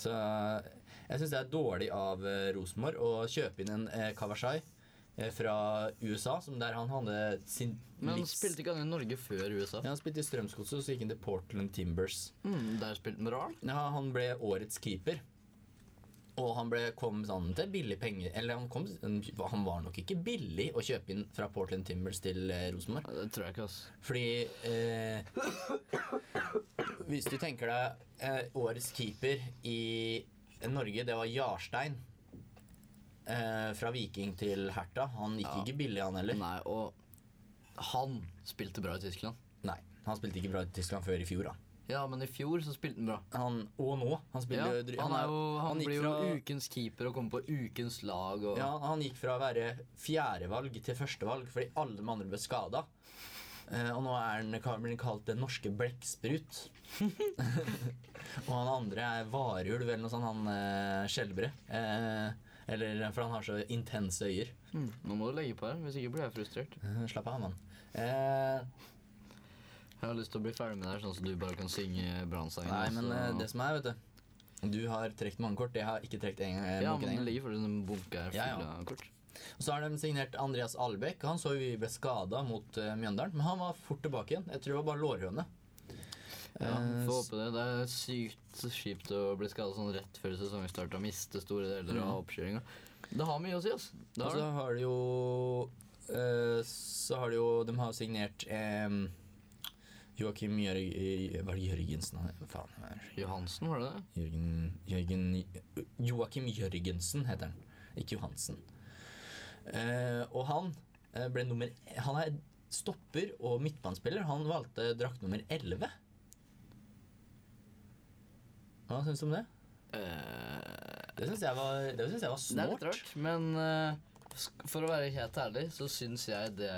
Speaker 1: Så eh, jeg syns det er dårlig av eh, Rosenborg å kjøpe inn en eh, Kawashai eh, fra USA, som der han hadde sin
Speaker 2: Men han
Speaker 1: livs-
Speaker 2: spilte ikke han i Norge før USA?
Speaker 1: ja, Han spilte i Strømsgodset, og så gikk han til Portland Timbers.
Speaker 2: Mm, der spilte han rart.
Speaker 1: Ja, han ble årets keeper. Og han ble, kom sånn til billig penger Eller han, kom, han var nok ikke billig å kjøpe inn fra Portland Timbers til eh, Rosenborg.
Speaker 2: Ja, det tror jeg ikke, altså.
Speaker 1: Fordi eh, Hvis du tenker deg eh, årets keeper i Norge, det var Jarstein. Eh, fra Viking til Herta. Han gikk
Speaker 2: Ja.
Speaker 1: ikke billig, han heller.
Speaker 2: Nei, og han spilte bra i Tyskland.
Speaker 1: Nei, Han spilte ikke bra i Tyskland før i fjor. da
Speaker 2: Ja, men i fjor så spilte han bra.
Speaker 1: han, Og nå. Han
Speaker 2: Ja,
Speaker 1: spiller jo dry-
Speaker 2: han, er jo, han,
Speaker 1: gikk
Speaker 2: blir jo
Speaker 1: fra-
Speaker 2: ukens keeper og kommer på ukens lag. Og,
Speaker 1: Ja, han gikk fra å være fjerdevalg til førstevalg fordi alle de andre ble skada. Eh, og nå er han ka- blir han kalt den norske blekksprut. og han andre er varulv eller noe sånt, han eh, skjelbre. Eh, eller for han har så intense øyer.
Speaker 2: Mm, nå må du legge på her, hvis ikke blir jeg frustrert.
Speaker 1: Eh, slapp av, mann. Eh,
Speaker 2: Jeg har lyst til å bli ferdig med det her, sånn at du bare kan synge altså. brannsangen.
Speaker 1: nei,
Speaker 2: og
Speaker 1: men
Speaker 2: så-
Speaker 1: eh, det som er, vet du Du har trukket mange kort. Jeg har ikke trukket én gang.
Speaker 2: Ja,
Speaker 1: bunken en
Speaker 2: men
Speaker 1: eh,
Speaker 2: det
Speaker 1: gang.
Speaker 2: ligger for den bunka her full
Speaker 1: Ja, ja.
Speaker 2: av kort.
Speaker 1: Og Så har de signert Andreas Albekk. Han så jo vi ble skada mot eh, Mjøndalen, men han var fort tilbake igjen. Jeg tror det var bare lårhøne.
Speaker 2: Ja,
Speaker 1: Eh,
Speaker 2: Får
Speaker 1: s-
Speaker 2: håpe det. Det er sykt kjipt å bli skada sånn rett før sesongstart og miste store deler
Speaker 1: Mm.
Speaker 2: av oppkjøringa. Det har mye å si, ass. Det
Speaker 1: Og så
Speaker 2: har det.
Speaker 1: har de jo eh, Så har de jo De har signert um, Joakim Jørg... Var det Jørgensen han het? Faen. hva er det?
Speaker 2: Johansen, var det det?
Speaker 1: Jørgen, Jørgen Joakim Jørgensen heter han. Ikke Johansen. Eh, og han eh, ble nummer Han er stopper og midtbanespiller. Han valgte drakt nummer 11. Hva syns du om det?
Speaker 2: Eh,
Speaker 1: Det syns jeg var, det synes jeg var
Speaker 2: det er litt
Speaker 1: snålt.
Speaker 2: rart, men eh, sk- for å være helt ærlig, så syns jeg det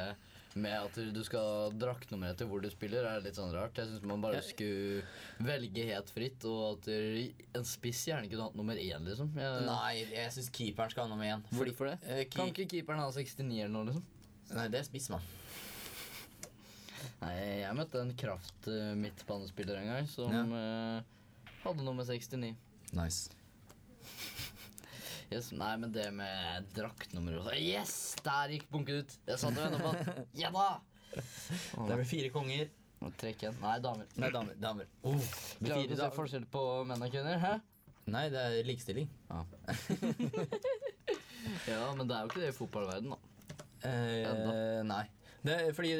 Speaker 2: med at du skal ha draktnummer etter hvor du spiller, er litt sånn rart. Jeg syns man bare skulle velge helt fritt, og at en spiss gjerne kunne hatt nummer én, liksom. Jeg,
Speaker 1: Nei, jeg syns keeperen skal ha nummer én. Fordi-
Speaker 2: Hvorfor det?
Speaker 1: eh,
Speaker 2: Kan
Speaker 1: keep-
Speaker 2: ikke keeperen ha 69 eller noe, liksom?
Speaker 1: Nei, det er spissmann.
Speaker 2: Nei, jeg møtte en kraft eh, midtbanespiller en gang som eh, hadde nummer 69.
Speaker 1: Nice.
Speaker 2: Yes, nei, men det med draktnummer også. Yes! Der gikk bunken ut! Jeg satt og venta på den. Ja da!
Speaker 1: Det blir fire konger.
Speaker 2: Trekk igjen. Nei, damer.
Speaker 1: Nei, damer. damer. Oh,
Speaker 2: Klarer
Speaker 1: fire
Speaker 2: du å se
Speaker 1: damer.
Speaker 2: forskjell på menn og kvinner? Hæ?
Speaker 1: Nei, det er likestilling.
Speaker 2: Ja, men det er jo ikke det i fotballverden da.
Speaker 1: Eh, nei. Det er fordi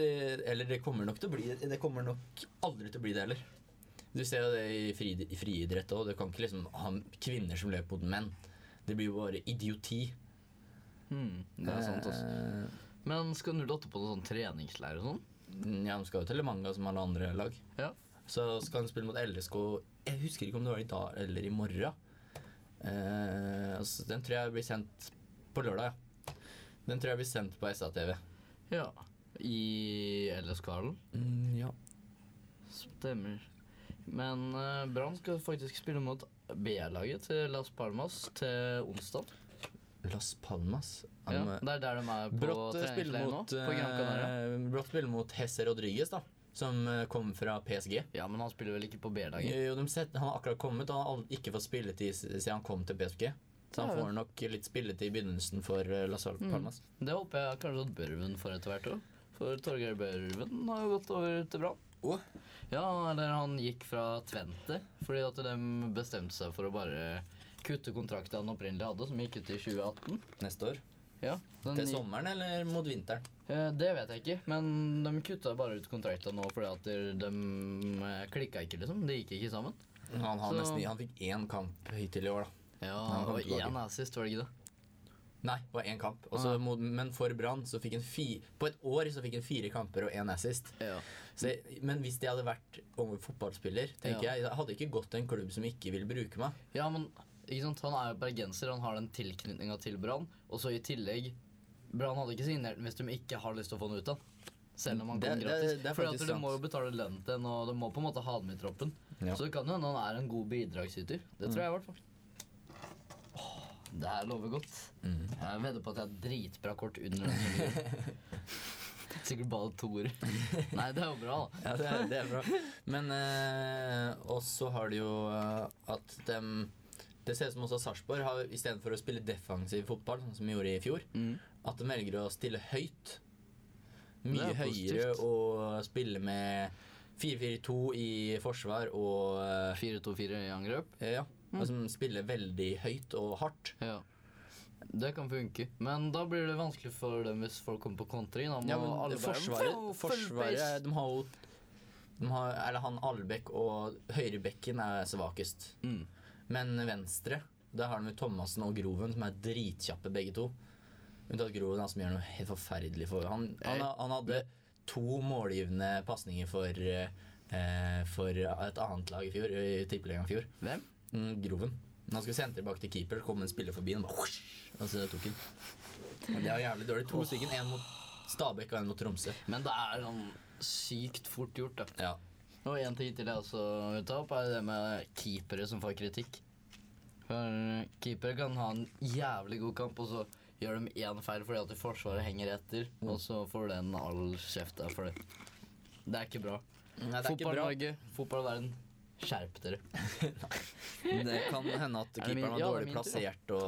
Speaker 1: Eller det kommer nok til å bli det. Det kommer nok aldri til å bli det heller. Du ser jo det i, fri, i friidrett òg. Du kan ikke liksom ha kvinner som løper mot menn. Det blir jo bare idioti.
Speaker 2: Hmm, det er sant, altså. Men skal 08 på noen sånn treningsleir og sånn?
Speaker 1: Eh, Ja, de skal jo til Le Manga som alle andre lag.
Speaker 2: Ja.
Speaker 1: Så skal han spille mot LSK Jeg husker ikke om det var i dag eller i morgen. Eh, altså, den tror jeg blir sendt på lørdag, ja. Den tror jeg blir sendt på SA-TV.
Speaker 2: Ja. I LS-kvalen?
Speaker 1: ja.
Speaker 2: Stemmer. Men eh, Brann skal faktisk spille mot B-laget til Las Palmas til onsdag.
Speaker 1: Las Palmas.
Speaker 2: Ja,
Speaker 1: Han, eh,
Speaker 2: det er der de er på
Speaker 1: Brått eh, spiller
Speaker 2: treningsleir nå.
Speaker 1: mot,
Speaker 2: På Gran Canaria.
Speaker 1: eh, Brått spiller mot Hesse Rodriguez, da, som eh, kom fra PSG.
Speaker 2: Ja, men han spiller vel ikke på B-laget?
Speaker 1: Eh, Jo, de set, han har akkurat kommet, og han har ald- ikke fått spilletid s- siden han kom til PSG. Så han
Speaker 2: Ja, Mm. ja.
Speaker 1: får nok litt spilletid i begynnelsen for eh, Las Palmas.
Speaker 2: Det håper jeg kanskje at Børven får etter hvert òg. For Torgeir Børven har jo gått over til Brann.
Speaker 1: Åh?
Speaker 2: Ja, eller han gikk fra Tvente fordi at de bestemte seg for å bare kutte kontrakten han opprinnelig hadde, som gikk ut i 2018.
Speaker 1: Neste år.
Speaker 2: Ja, den
Speaker 1: Til
Speaker 2: gikk-
Speaker 1: sommeren eller mot vinteren?
Speaker 2: Eh, Det vet jeg ikke, men de kutta bare ut kontrakta nå fordi at de, de klikka ikke, liksom. De gikk ikke sammen.
Speaker 1: Han, har
Speaker 2: Så-
Speaker 1: nesten, han fikk én kamp hittil i år, da.
Speaker 2: Ja,
Speaker 1: han kom
Speaker 2: og
Speaker 1: tilbake.
Speaker 2: én assist, var det ikke det?
Speaker 1: Nei, det var én kamp. Og
Speaker 2: Ah.
Speaker 1: så mot, men for Brann så fikk han fi, På et år så fikk han fire kamper og én assist.
Speaker 2: Ja.
Speaker 1: Så, men hvis jeg hadde vært ung fotballspiller, tenker
Speaker 2: Ja.
Speaker 1: jeg, jeg hadde ikke gått til en klubb som ikke ville bruke meg.
Speaker 2: ja, men ikke sant? han er jo bergenser, han har den tilknytninga til Brann. Og så i tillegg Brann hadde ikke signert den hvis de ikke har lyst til å få den ut av. Selv om han
Speaker 1: Det-
Speaker 2: kom
Speaker 1: det-
Speaker 2: gratis.
Speaker 1: det er
Speaker 2: Fordi
Speaker 1: faktisk
Speaker 2: at du
Speaker 1: sant.
Speaker 2: må jo betale lønn til den, og du må på en måte ha den med i troppen.
Speaker 1: Ja. Mm.
Speaker 2: Så det kan jo hende han er en god bidragsyter. Det tror jeg i hvert fall. Åh, Det her lover godt.
Speaker 1: Mm.
Speaker 2: Jeg vedder på at jeg har dritbra kort under den. sesongen. Sikkert bare toer. Nei, det er jo bra, da.
Speaker 1: Ja, det er, det er bra. Men eh, også har det jo eh, at dem Det ser ut som også Sarpsborg har istedenfor å spille defensiv fotball, sånn som vi gjorde i fjor, at de velger å stille høyt. Mye
Speaker 2: Det er
Speaker 1: høyere
Speaker 2: positivt.
Speaker 1: og spille med 4-4-2 i forsvar og eh,
Speaker 2: 4-2-4 i angrep.
Speaker 1: Ja. Altså spille veldig høyt og hardt.
Speaker 2: Ja. Det kan funke. Men da blir det vanskelig for dem hvis folk kommer på kontring. Da må
Speaker 1: Ja, men
Speaker 2: alle bare
Speaker 1: Forsvaret,
Speaker 2: Full- full
Speaker 1: forsvaret
Speaker 2: pace.
Speaker 1: De har jo de har, Eller han Albekk og høyrebekken er svakest.
Speaker 2: Mm.
Speaker 1: Men venstre, der har de jo Thomassen og Groven, som er dritkjappe begge to. Unntatt Groven, han som gjør noe helt forferdelig for Han, han, ha- han hadde to målgivende pasninger for, eh, eh, for et annet lag i fjor, i tippeligaen i fjor.
Speaker 2: Hvem?
Speaker 1: Mm, groven. Men Han skulle sende tilbake til keeper, så kom en spiller forbi, og bare whoosh, og så tok han. Men Det var jævlig dårlig. To stykker. En mot Stabæk og en mot Tromsø.
Speaker 2: Men det er sånn sykt fort gjort, da.
Speaker 1: Ja.
Speaker 2: Og en ting til jeg også vil ta opp, er det med keepere som får kritikk. For keepere kan ha en jævlig god kamp, og så gjør de én feil fordi at Forsvaret henger etter, og så får den all kjefta for det. Det er ikke bra.
Speaker 1: Nei, det er ikke bra.
Speaker 2: Fotball-Norge, fotballverden, skjerp dere.
Speaker 1: Det kan hende at
Speaker 2: det min-
Speaker 1: keeperen var
Speaker 2: ja, det er
Speaker 1: dårlig
Speaker 2: min tur, ja.
Speaker 1: plassert og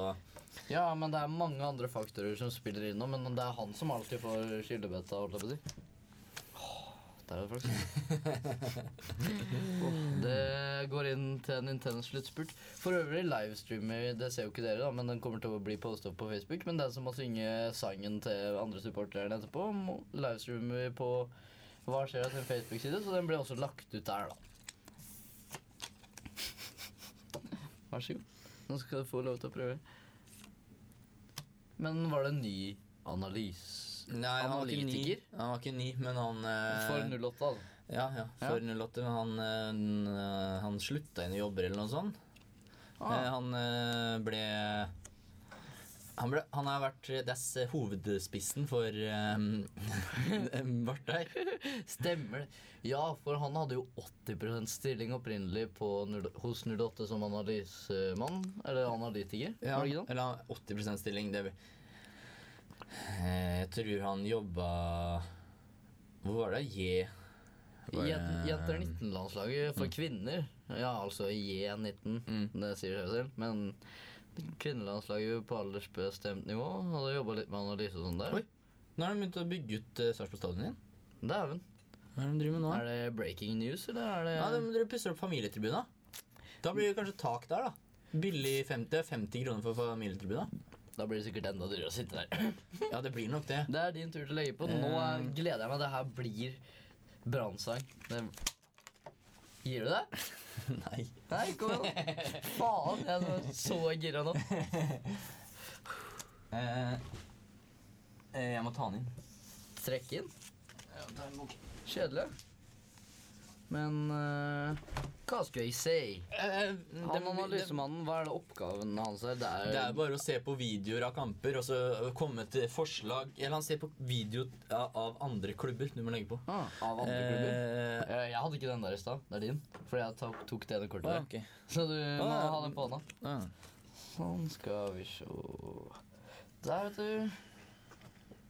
Speaker 2: Ja, men det er mange andre faktorer som spiller inn nå, men det er han som alltid får skyldebøtta, holdt jeg på å si. Åh, Der er det faktisk. Åh, Det går inn til en intens sluttspurt. For øvrig livestreamer, det ser jo ikke dere, da, men den kommer til å bli posta på Facebook. Men den som må synge sangen til andre supporterne etterpå, må- livestreamer på Hva skjer sin Facebook-side, så den blir også lagt ut der, da. Vær så god. Nå skal du få lov til å prøve. Men var det en ny analys...
Speaker 1: Nei, han var ikke ny.
Speaker 2: Analytiker?
Speaker 1: Han var ikke ny, men han eh,
Speaker 2: For 08, altså.
Speaker 1: Ja, ja, for 08. Men han, eh, n- eh, han slutta inn i jobber eller noe sånt.
Speaker 2: Ah.
Speaker 1: Eh, Han eh, ble han, ble, han har vært dess hovedspissen for eh, Bartheir.
Speaker 2: Stemmer det. Ja, for han hadde jo 80 stilling opprinnelig på, 0 hos 08 som analysemann, eller analytiker.
Speaker 1: Ja,
Speaker 2: Var det ikke sånn?
Speaker 1: eller han- 80 stilling. Det Eh, Jeg tror han jobba Hvor var det? J... Var eh, mm. det-
Speaker 2: Jen- Jenter 19-landslaget for kvinner. Ja, altså J19,
Speaker 1: Mm.
Speaker 2: det sier seg selv. Men kvinnelandslaget på aldersbestemt nivå hadde jobba litt med analyse og sånn der.
Speaker 1: Oi. Nå har de begynt å bygge ut eh, Sarpsborg stadion igjen.
Speaker 2: Dæven.
Speaker 1: Hva er det de driver med nå?
Speaker 2: Er det breaking news, eller er det
Speaker 1: Ja, de dere pusser opp familietribuna. Da blir det kanskje tak der, da. Billig 50, 50 kroner for familietribuna.
Speaker 2: Da blir det sikkert enda dyrere å sitte der.
Speaker 1: Ja, det blir nok det.
Speaker 2: Det er din tur til å legge på. Nå er, gleder jeg meg. Det her blir brannsang. Det- Gir du deg?
Speaker 1: Nei.
Speaker 2: Nei, kom igjen. da. Faen, jeg er så gira nå.
Speaker 1: Eh, jeg må ta den inn.
Speaker 2: Trekk inn. Kjedelig. Men eh, hva skal jeg si?
Speaker 1: Eh,
Speaker 2: Han analysemannen, hva er det oppgaven hans er? Det er,
Speaker 1: Det er bare å se på videoer av kamper og så øh, komme til forslag Eller han ser på video av- av andre klubber. Du må legge på.
Speaker 2: ah, av andre klubber.
Speaker 1: Eh,
Speaker 2: Eh, Jeg hadde ikke den der i stad. Det er din. Fordi jeg tok, tok det ene kortet
Speaker 1: ja, ah,
Speaker 2: der.
Speaker 1: ok. Ah.
Speaker 2: Så du må
Speaker 1: ja.
Speaker 2: ha den på hånda.
Speaker 1: Ja.
Speaker 2: Ah. Sånn skal vi se Der, vet du.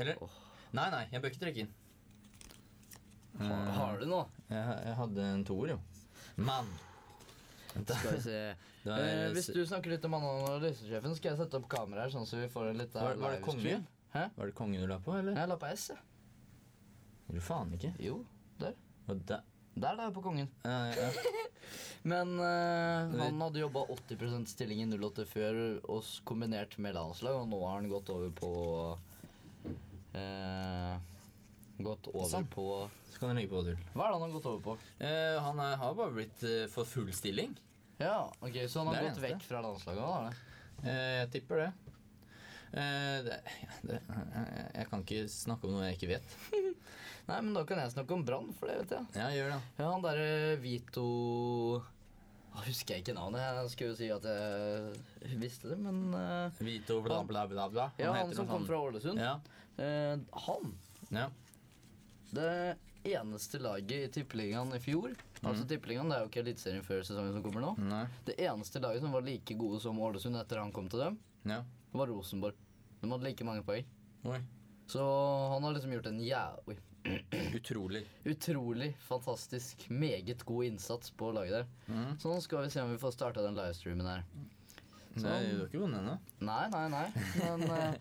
Speaker 1: Eller? Nei, nei, jeg bør ikke trekke inn.
Speaker 2: Har, har du noe?
Speaker 1: Jeg, jeg hadde en toer, jo. Mann!
Speaker 2: Skal vi se.
Speaker 1: Det er-
Speaker 2: Eh, hvis du snakker litt om han analysesjefen, skal jeg sette opp kamera her, sånn så vi får en litt
Speaker 1: Var, var det kongen?
Speaker 2: Hæ?
Speaker 1: Var det kongen du la på, eller?
Speaker 2: Jeg la på S, jeg.
Speaker 1: Gjorde du faen ikke?
Speaker 2: Jo, der.
Speaker 1: Og da,
Speaker 2: Der la jeg på kongen.
Speaker 1: eh, ja.
Speaker 2: Men eh,
Speaker 1: Men-
Speaker 2: han hadde jobba 80 stilling i 08 før oss kombinert med landslag, og nå har han gått over på eh, Gått over
Speaker 1: Sånn.
Speaker 2: på
Speaker 1: Så kan du legge på tull.
Speaker 2: Hva er det han har gått over på?
Speaker 1: Eh, han er, har bare blitt eh, for full stilling.
Speaker 2: Ja, ok, Så han
Speaker 1: Det er
Speaker 2: har gått
Speaker 1: det eneste.
Speaker 2: vekk fra landslaget? da, er det?
Speaker 1: Eh, jeg tipper det. Eh, det, det eh, Jeg kan ikke snakke om noe jeg ikke vet.
Speaker 2: Nei, men da kan jeg snakke om Brann, for det vet jeg.
Speaker 1: Ja, gjør det.
Speaker 2: Ja, han derre Vito Å, Husker jeg ikke navnet. Jeg skulle jo si at jeg visste det, men eh,
Speaker 1: Vito bla, bla, bla, bla.
Speaker 2: Ja, han
Speaker 1: heter
Speaker 2: som
Speaker 1: noe
Speaker 2: kom
Speaker 1: sånn.
Speaker 2: fra Ålesund.
Speaker 1: Ja,
Speaker 2: Eh, han
Speaker 1: ja.
Speaker 2: Det eneste laget i Tippeligaen i fjor
Speaker 1: Mhm.
Speaker 2: Altså Tippeligaen det er jo ikke Eliteserien før sesongen som kommer nå.
Speaker 1: Nei.
Speaker 2: Det eneste laget som var like gode som Ålesund etter han kom til dem,
Speaker 1: Ja.
Speaker 2: var Rosenborg. De hadde like mange poeng.
Speaker 1: Oi.
Speaker 2: Så han har liksom gjort en jævlig
Speaker 1: Utrolig.
Speaker 2: utrolig fantastisk, meget god innsats på laget der.
Speaker 1: Mhm.
Speaker 2: Så nå skal vi se om vi får starta den livestreamen her.
Speaker 1: Nei, du har ikke vunnet ennå.
Speaker 2: Nei, nei, nei. Men eh,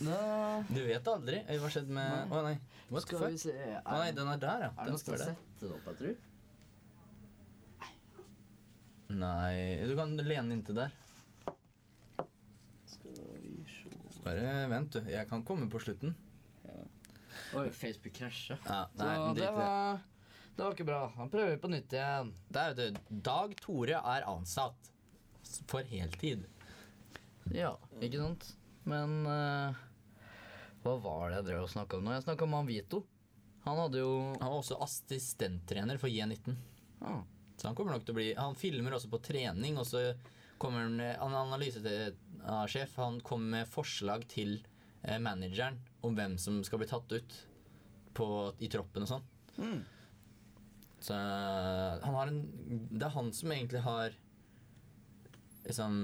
Speaker 2: nå-
Speaker 1: Du vet aldri. Oi, Hva skjedde med Å nei. What the
Speaker 2: skal vi
Speaker 1: fuck?
Speaker 2: se Er,
Speaker 1: Å nei, den er der, ja.
Speaker 2: er det
Speaker 1: Den
Speaker 2: noe som
Speaker 1: står der.
Speaker 2: setter det opp, jeg tror?
Speaker 1: Nei Du kan lene inntil der. Bare vent, du. Jeg kan komme på slutten.
Speaker 2: Oi, Facebook krasja.
Speaker 1: Ja,
Speaker 2: Så
Speaker 1: nei, men drit i
Speaker 2: det
Speaker 1: det.
Speaker 2: var, det var ikke bra. Han prøver på nytt igjen.
Speaker 1: Det er jo det. Dag Tore er ansatt for heltid.
Speaker 2: Ja, ikke sant? Men eh, hva var det jeg drev og snakka om nå? Jeg snakka om han Vito. Han hadde jo
Speaker 1: Han var også assistenttrener for J19.
Speaker 2: ah,
Speaker 1: Så han kommer nok til å bli Han filmer også på trening, og så kommer han eh, Han er analysesjef. Han kommer med forslag til eh, manageren om hvem som skal bli tatt ut på, i troppen og sånn.
Speaker 2: Mm.
Speaker 1: Så eh, han har en Det er han som egentlig har Liksom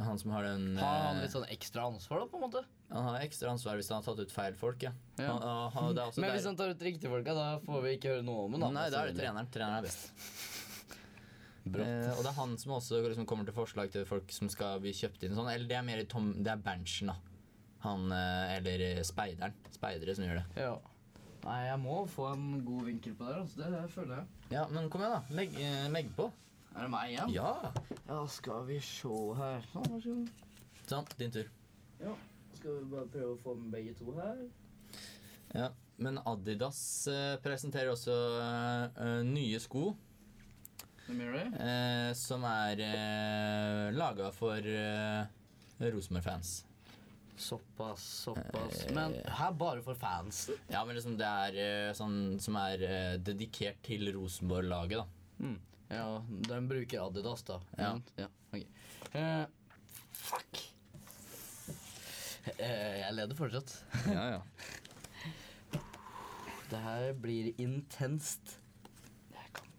Speaker 1: Han som har den
Speaker 2: Har han
Speaker 1: eh,
Speaker 2: litt sånn ekstra ansvar, da, på en måte?
Speaker 1: Han har ekstra ansvar hvis han har tatt ut feil folk, ja.
Speaker 2: Ja.
Speaker 1: Han, og han- det er også
Speaker 2: Men
Speaker 1: der-
Speaker 2: hvis han tar ut riktigfolka, da får vi ikke høre noe om Altså, ham.
Speaker 1: Nei, da er det treneren. Treneren er best. Eh, og det er han som også liksom, kommer til forslag til folk som skal bli kjøpt inn. og Sånn. Eller det er mer i Tom Det er Berntsen, da. Han eh, eller speideren. Speidere som gjør det.
Speaker 2: Ja. Nei, jeg må få en god vinkel på det. her, Altså. Det, det føler jeg.
Speaker 1: Ja, men kom igjen, da. Legg, eh, legg på.
Speaker 2: Er det meg igjen?
Speaker 1: Ja.
Speaker 2: Ja, skal vi se her. Sånn, vær så god.
Speaker 1: Sånn, din tur.
Speaker 2: Skal vi bare prøve å få med begge to her?
Speaker 1: Ja. Men Adidas eh, presenterer også eh, eh, nye sko
Speaker 2: Hvem gjør det?
Speaker 1: eh, som er eh, laga for eh, Rosenborg-fans.
Speaker 2: Såpass, såpass.
Speaker 1: Eh,
Speaker 2: Men her bare for fansen?
Speaker 1: Ja, men liksom det er eh, sånn som er eh, dedikert til Rosenborg-laget, da.
Speaker 2: Hmm. Ja, den bruker Adidas, da.
Speaker 1: Ja.
Speaker 2: Sant? ja ok. Eh, fuck! Eh, jeg leder fortsatt.
Speaker 1: Ja, ja.
Speaker 2: Det her blir intenst. Jeg kan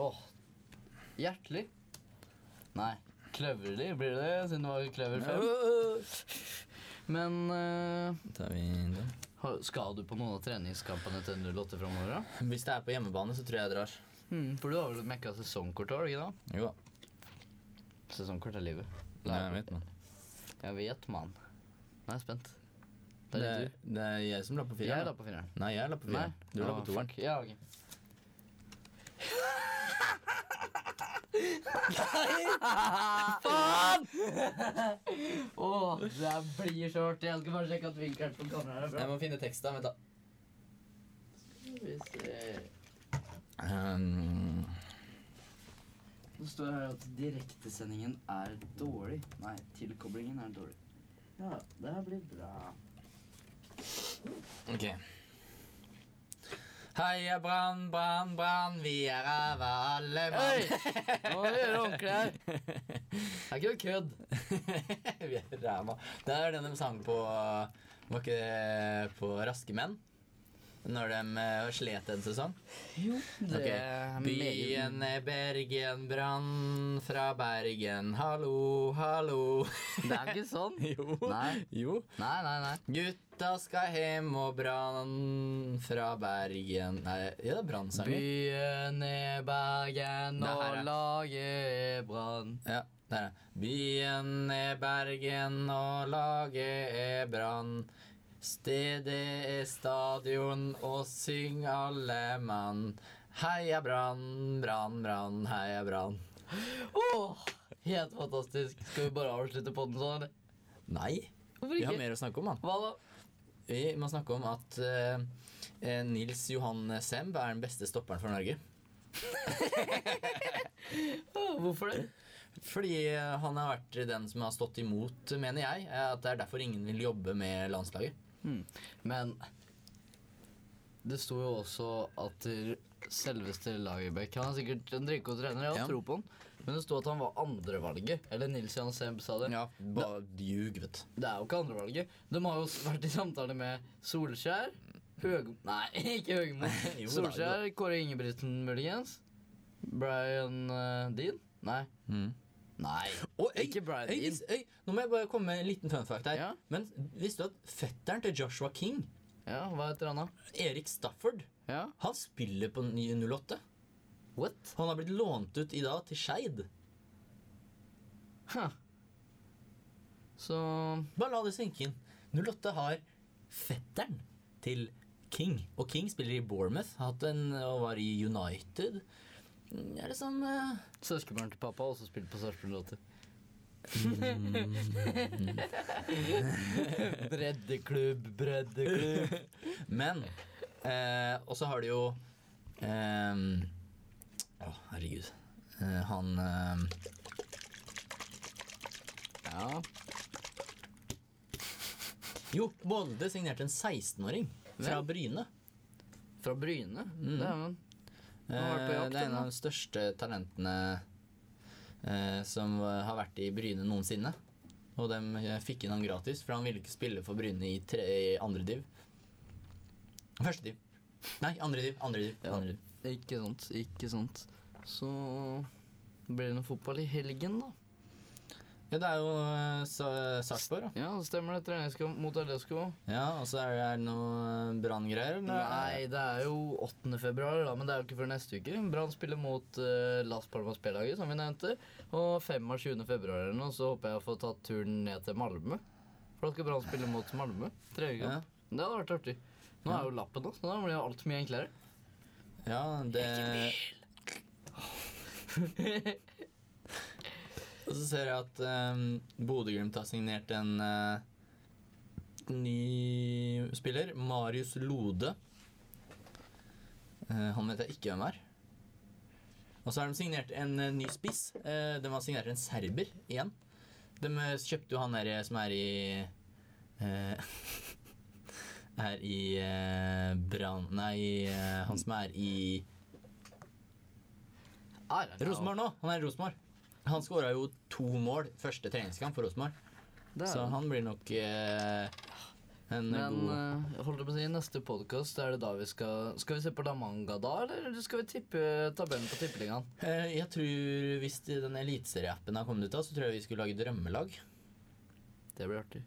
Speaker 2: Åh. Hjertelig? Nei. Kløverlig blir det, siden det var kløver fem. Men eh,
Speaker 1: Tar vi den?
Speaker 2: har- skal du på noen av treningskampene til 08 framover, da?
Speaker 1: Hvis det er på hjemmebane, så tror jeg jeg drar.
Speaker 2: Hmm, for du har vel mekka sesongkort, har du ikke det?
Speaker 1: Jo da.
Speaker 2: Sesongkort er livet.
Speaker 1: Nei, jeg vet man.
Speaker 2: Jeg vet, mann. Nå er jeg spent.
Speaker 1: Det,
Speaker 2: Det er din tur.
Speaker 1: det er jeg som la på
Speaker 2: Jeg
Speaker 1: fireren.
Speaker 2: la på fireren.
Speaker 1: da. Nei, Ah, jeg la på
Speaker 2: Nei.
Speaker 1: fireren. Du la
Speaker 2: Å,
Speaker 1: på toeren.
Speaker 2: fuck. Ja, ok. Faen! Åh, det her blir så hardt. Jeg skal bare sjekke at vinkelen på kameraet er bra.
Speaker 1: må finne teksten. Vent, da.
Speaker 2: Skal vi se.
Speaker 1: Um,
Speaker 2: Det står her at direktesendingen er dårlig. Nei, tilkoblingen er dårlig. Ja, det her blir bra.
Speaker 1: ok. Heia brann, brann, brann, vi er ræva alle
Speaker 2: Hei!
Speaker 1: mann.
Speaker 2: Nå må vi gjøre ordentlig her. Det er ikke noe kødd.
Speaker 1: vi er ræva. Det er den de sang på Var ikke det på Raske menn? Når de eh, slet en sesong.
Speaker 2: Jo, det
Speaker 1: Ok.
Speaker 2: er meget-
Speaker 1: Byen er Bergen, brann fra Bergen. Hallo, hallo.
Speaker 2: Det er ikke sånn.
Speaker 1: jo.
Speaker 2: Nei.
Speaker 1: jo.
Speaker 2: Nei, nei, nei.
Speaker 1: Gutta skal hjem og brann fra Bergen Nei, ja, det er brannsanger.
Speaker 2: Byen er Bergen
Speaker 1: Det her
Speaker 2: og
Speaker 1: er-
Speaker 2: laget er brann.
Speaker 1: Ja, der er det. Byen er Bergen og laget er Brann. Stedet er stadion og syng alle mann. Heia Brann, Brann, Brann, heia Brann.
Speaker 2: Åh, helt fantastisk. Skal vi bare avslutte podden sånn, eller?
Speaker 1: Nei,
Speaker 2: Hvorfor
Speaker 1: vi har
Speaker 2: ikke?
Speaker 1: mer å snakke om, mann.
Speaker 2: Hva da?
Speaker 1: Vi må snakke om at eh, eh, Nils Johan Semb er den beste stopperen for Norge.
Speaker 2: Åh, Hvorfor det?
Speaker 1: Fordi eh, han har vært den som har stått imot, mener jeg. eh, At det er derfor ingen vil jobbe med landslaget.
Speaker 2: Mm. Men det sto jo også at der- selveste Lagerbäck Han er sikkert en drikkotrener, jeg har
Speaker 1: Ja.
Speaker 2: tro på han. Men det sto at han var andrevalget. Eller Nils Johan Semb sa det.
Speaker 1: Bare ljug, vet du.
Speaker 2: Det er jo ikke andrevalget. De har jo s- vært i samtale med Solskjær Høg... Nei, ikke Høgmo.
Speaker 1: Jo da,
Speaker 2: Solskjær, Kåre Ingebrigtsen muligens. Brian eh, Dean? Nei.
Speaker 1: Mm.
Speaker 2: Nei.
Speaker 1: Og, øy,
Speaker 2: Ikke Brian
Speaker 1: øy,
Speaker 2: Dean.
Speaker 1: vis- øy, nå må jeg bare komme med en liten fun fact her.
Speaker 2: Ja.
Speaker 1: Men visste du at fetteren til Joshua King,
Speaker 2: Ja, hva heter han da?
Speaker 1: Erik Stafford,
Speaker 2: Ja.
Speaker 1: han spiller på ny 08?
Speaker 2: What?
Speaker 1: Han har blitt lånt ut i dag til Skeid.
Speaker 2: Huh. Så
Speaker 1: Bare la det synke inn. 08 har fetteren til King. Og King spiller i Bournemouth har hatt en, og var i United. Mm, Er det sånn eh,
Speaker 2: Søskenbarn til pappa har også spilt på Sarpsborg 8. breddeklubb, breddeklubb.
Speaker 1: Men eh, Og så har du jo eh, Å, herregud. Eh, han eh,
Speaker 2: Ja.
Speaker 1: Jo, Molde signerte en 16-åring fra
Speaker 2: Hvem?
Speaker 1: Bryne.
Speaker 2: Fra Bryne. Det er han.
Speaker 1: Eh,
Speaker 2: har vært på jakt,
Speaker 1: det er en
Speaker 2: den, da.
Speaker 1: av de største talentene eh, som eh, har vært i Bryne noensinne. Og de eh, fikk inn han gratis, for han ville ikke spille for Bryne i, tre, i andre div. Første div. Nei, andre div. Andre div.
Speaker 2: Ja.
Speaker 1: Andre div.
Speaker 2: Ikke sant, ikke sant. Så blir det noe fotball i helgen, da.
Speaker 1: Ja, det er jo eh, Sa- Sarpsborg, da.
Speaker 2: Ja, det stemmer det. Treningskamp mot LSK.
Speaker 1: Ja, og så er det er det noe branngreier, eller?
Speaker 2: Nei, det er jo 8. februar, da, men det er jo ikke før neste uke. Brann spiller mot eh, Las Palmas B-laget, som vi nevnte. Og 5. av 20. februar eller noe, så håper jeg å få tatt turen ned til Malmö. For da skal Brann spille mot Malmö. Tredje gang. Det hadde vært artig. Nå er jo lappen, da, så da blir jo alt mye enklere.
Speaker 1: Ja, det Og så ser jeg at um, Bodø-Glimt har signert en eh, ny spiller. Marius Lode. Eh, han vet jeg ikke hvem er. Og så har de signert en eh, ny spiss. Eh, de har signert en serber igjen. De eh, kjøpte jo han der eh, som er i eh, Er i eh, Brann Nei, eh, han som er i
Speaker 2: Er han-
Speaker 1: Rosenborg nå! Han er i Rosenborg. Han skåra jo to mål første treningskamp for Rosenborg,
Speaker 2: Det er
Speaker 1: så
Speaker 2: han.
Speaker 1: han blir nok eh, en
Speaker 2: Men
Speaker 1: god
Speaker 2: eh, jeg holdt jeg på å si, neste podkast er det da vi skal Skal vi se på La Manga da, eller skal vi tippe tabellen på tippeligaen?
Speaker 1: eh, Jeg tror hvis den eliteserieappen har kommet ut, da, så tror jeg vi skulle lage drømmelag.
Speaker 2: Det blir artig.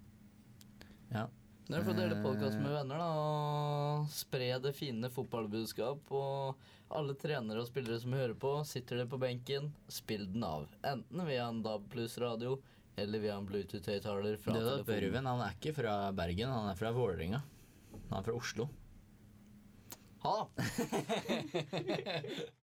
Speaker 1: Ja.
Speaker 2: Det er for å dele
Speaker 1: Eh.
Speaker 2: podkast med venner da, og spre det fine fotballbudskap. Og alle trenere og spillere som hører på, sitter dere på benken, spill den av. Enten via en DAB pluss-radio eller via en Bluetooth-høyttaler fra
Speaker 1: Det da,
Speaker 2: telefonen.
Speaker 1: Børven han er ikke fra Bergen, han er fra Vålerenga. Han er fra Oslo.
Speaker 2: Ha!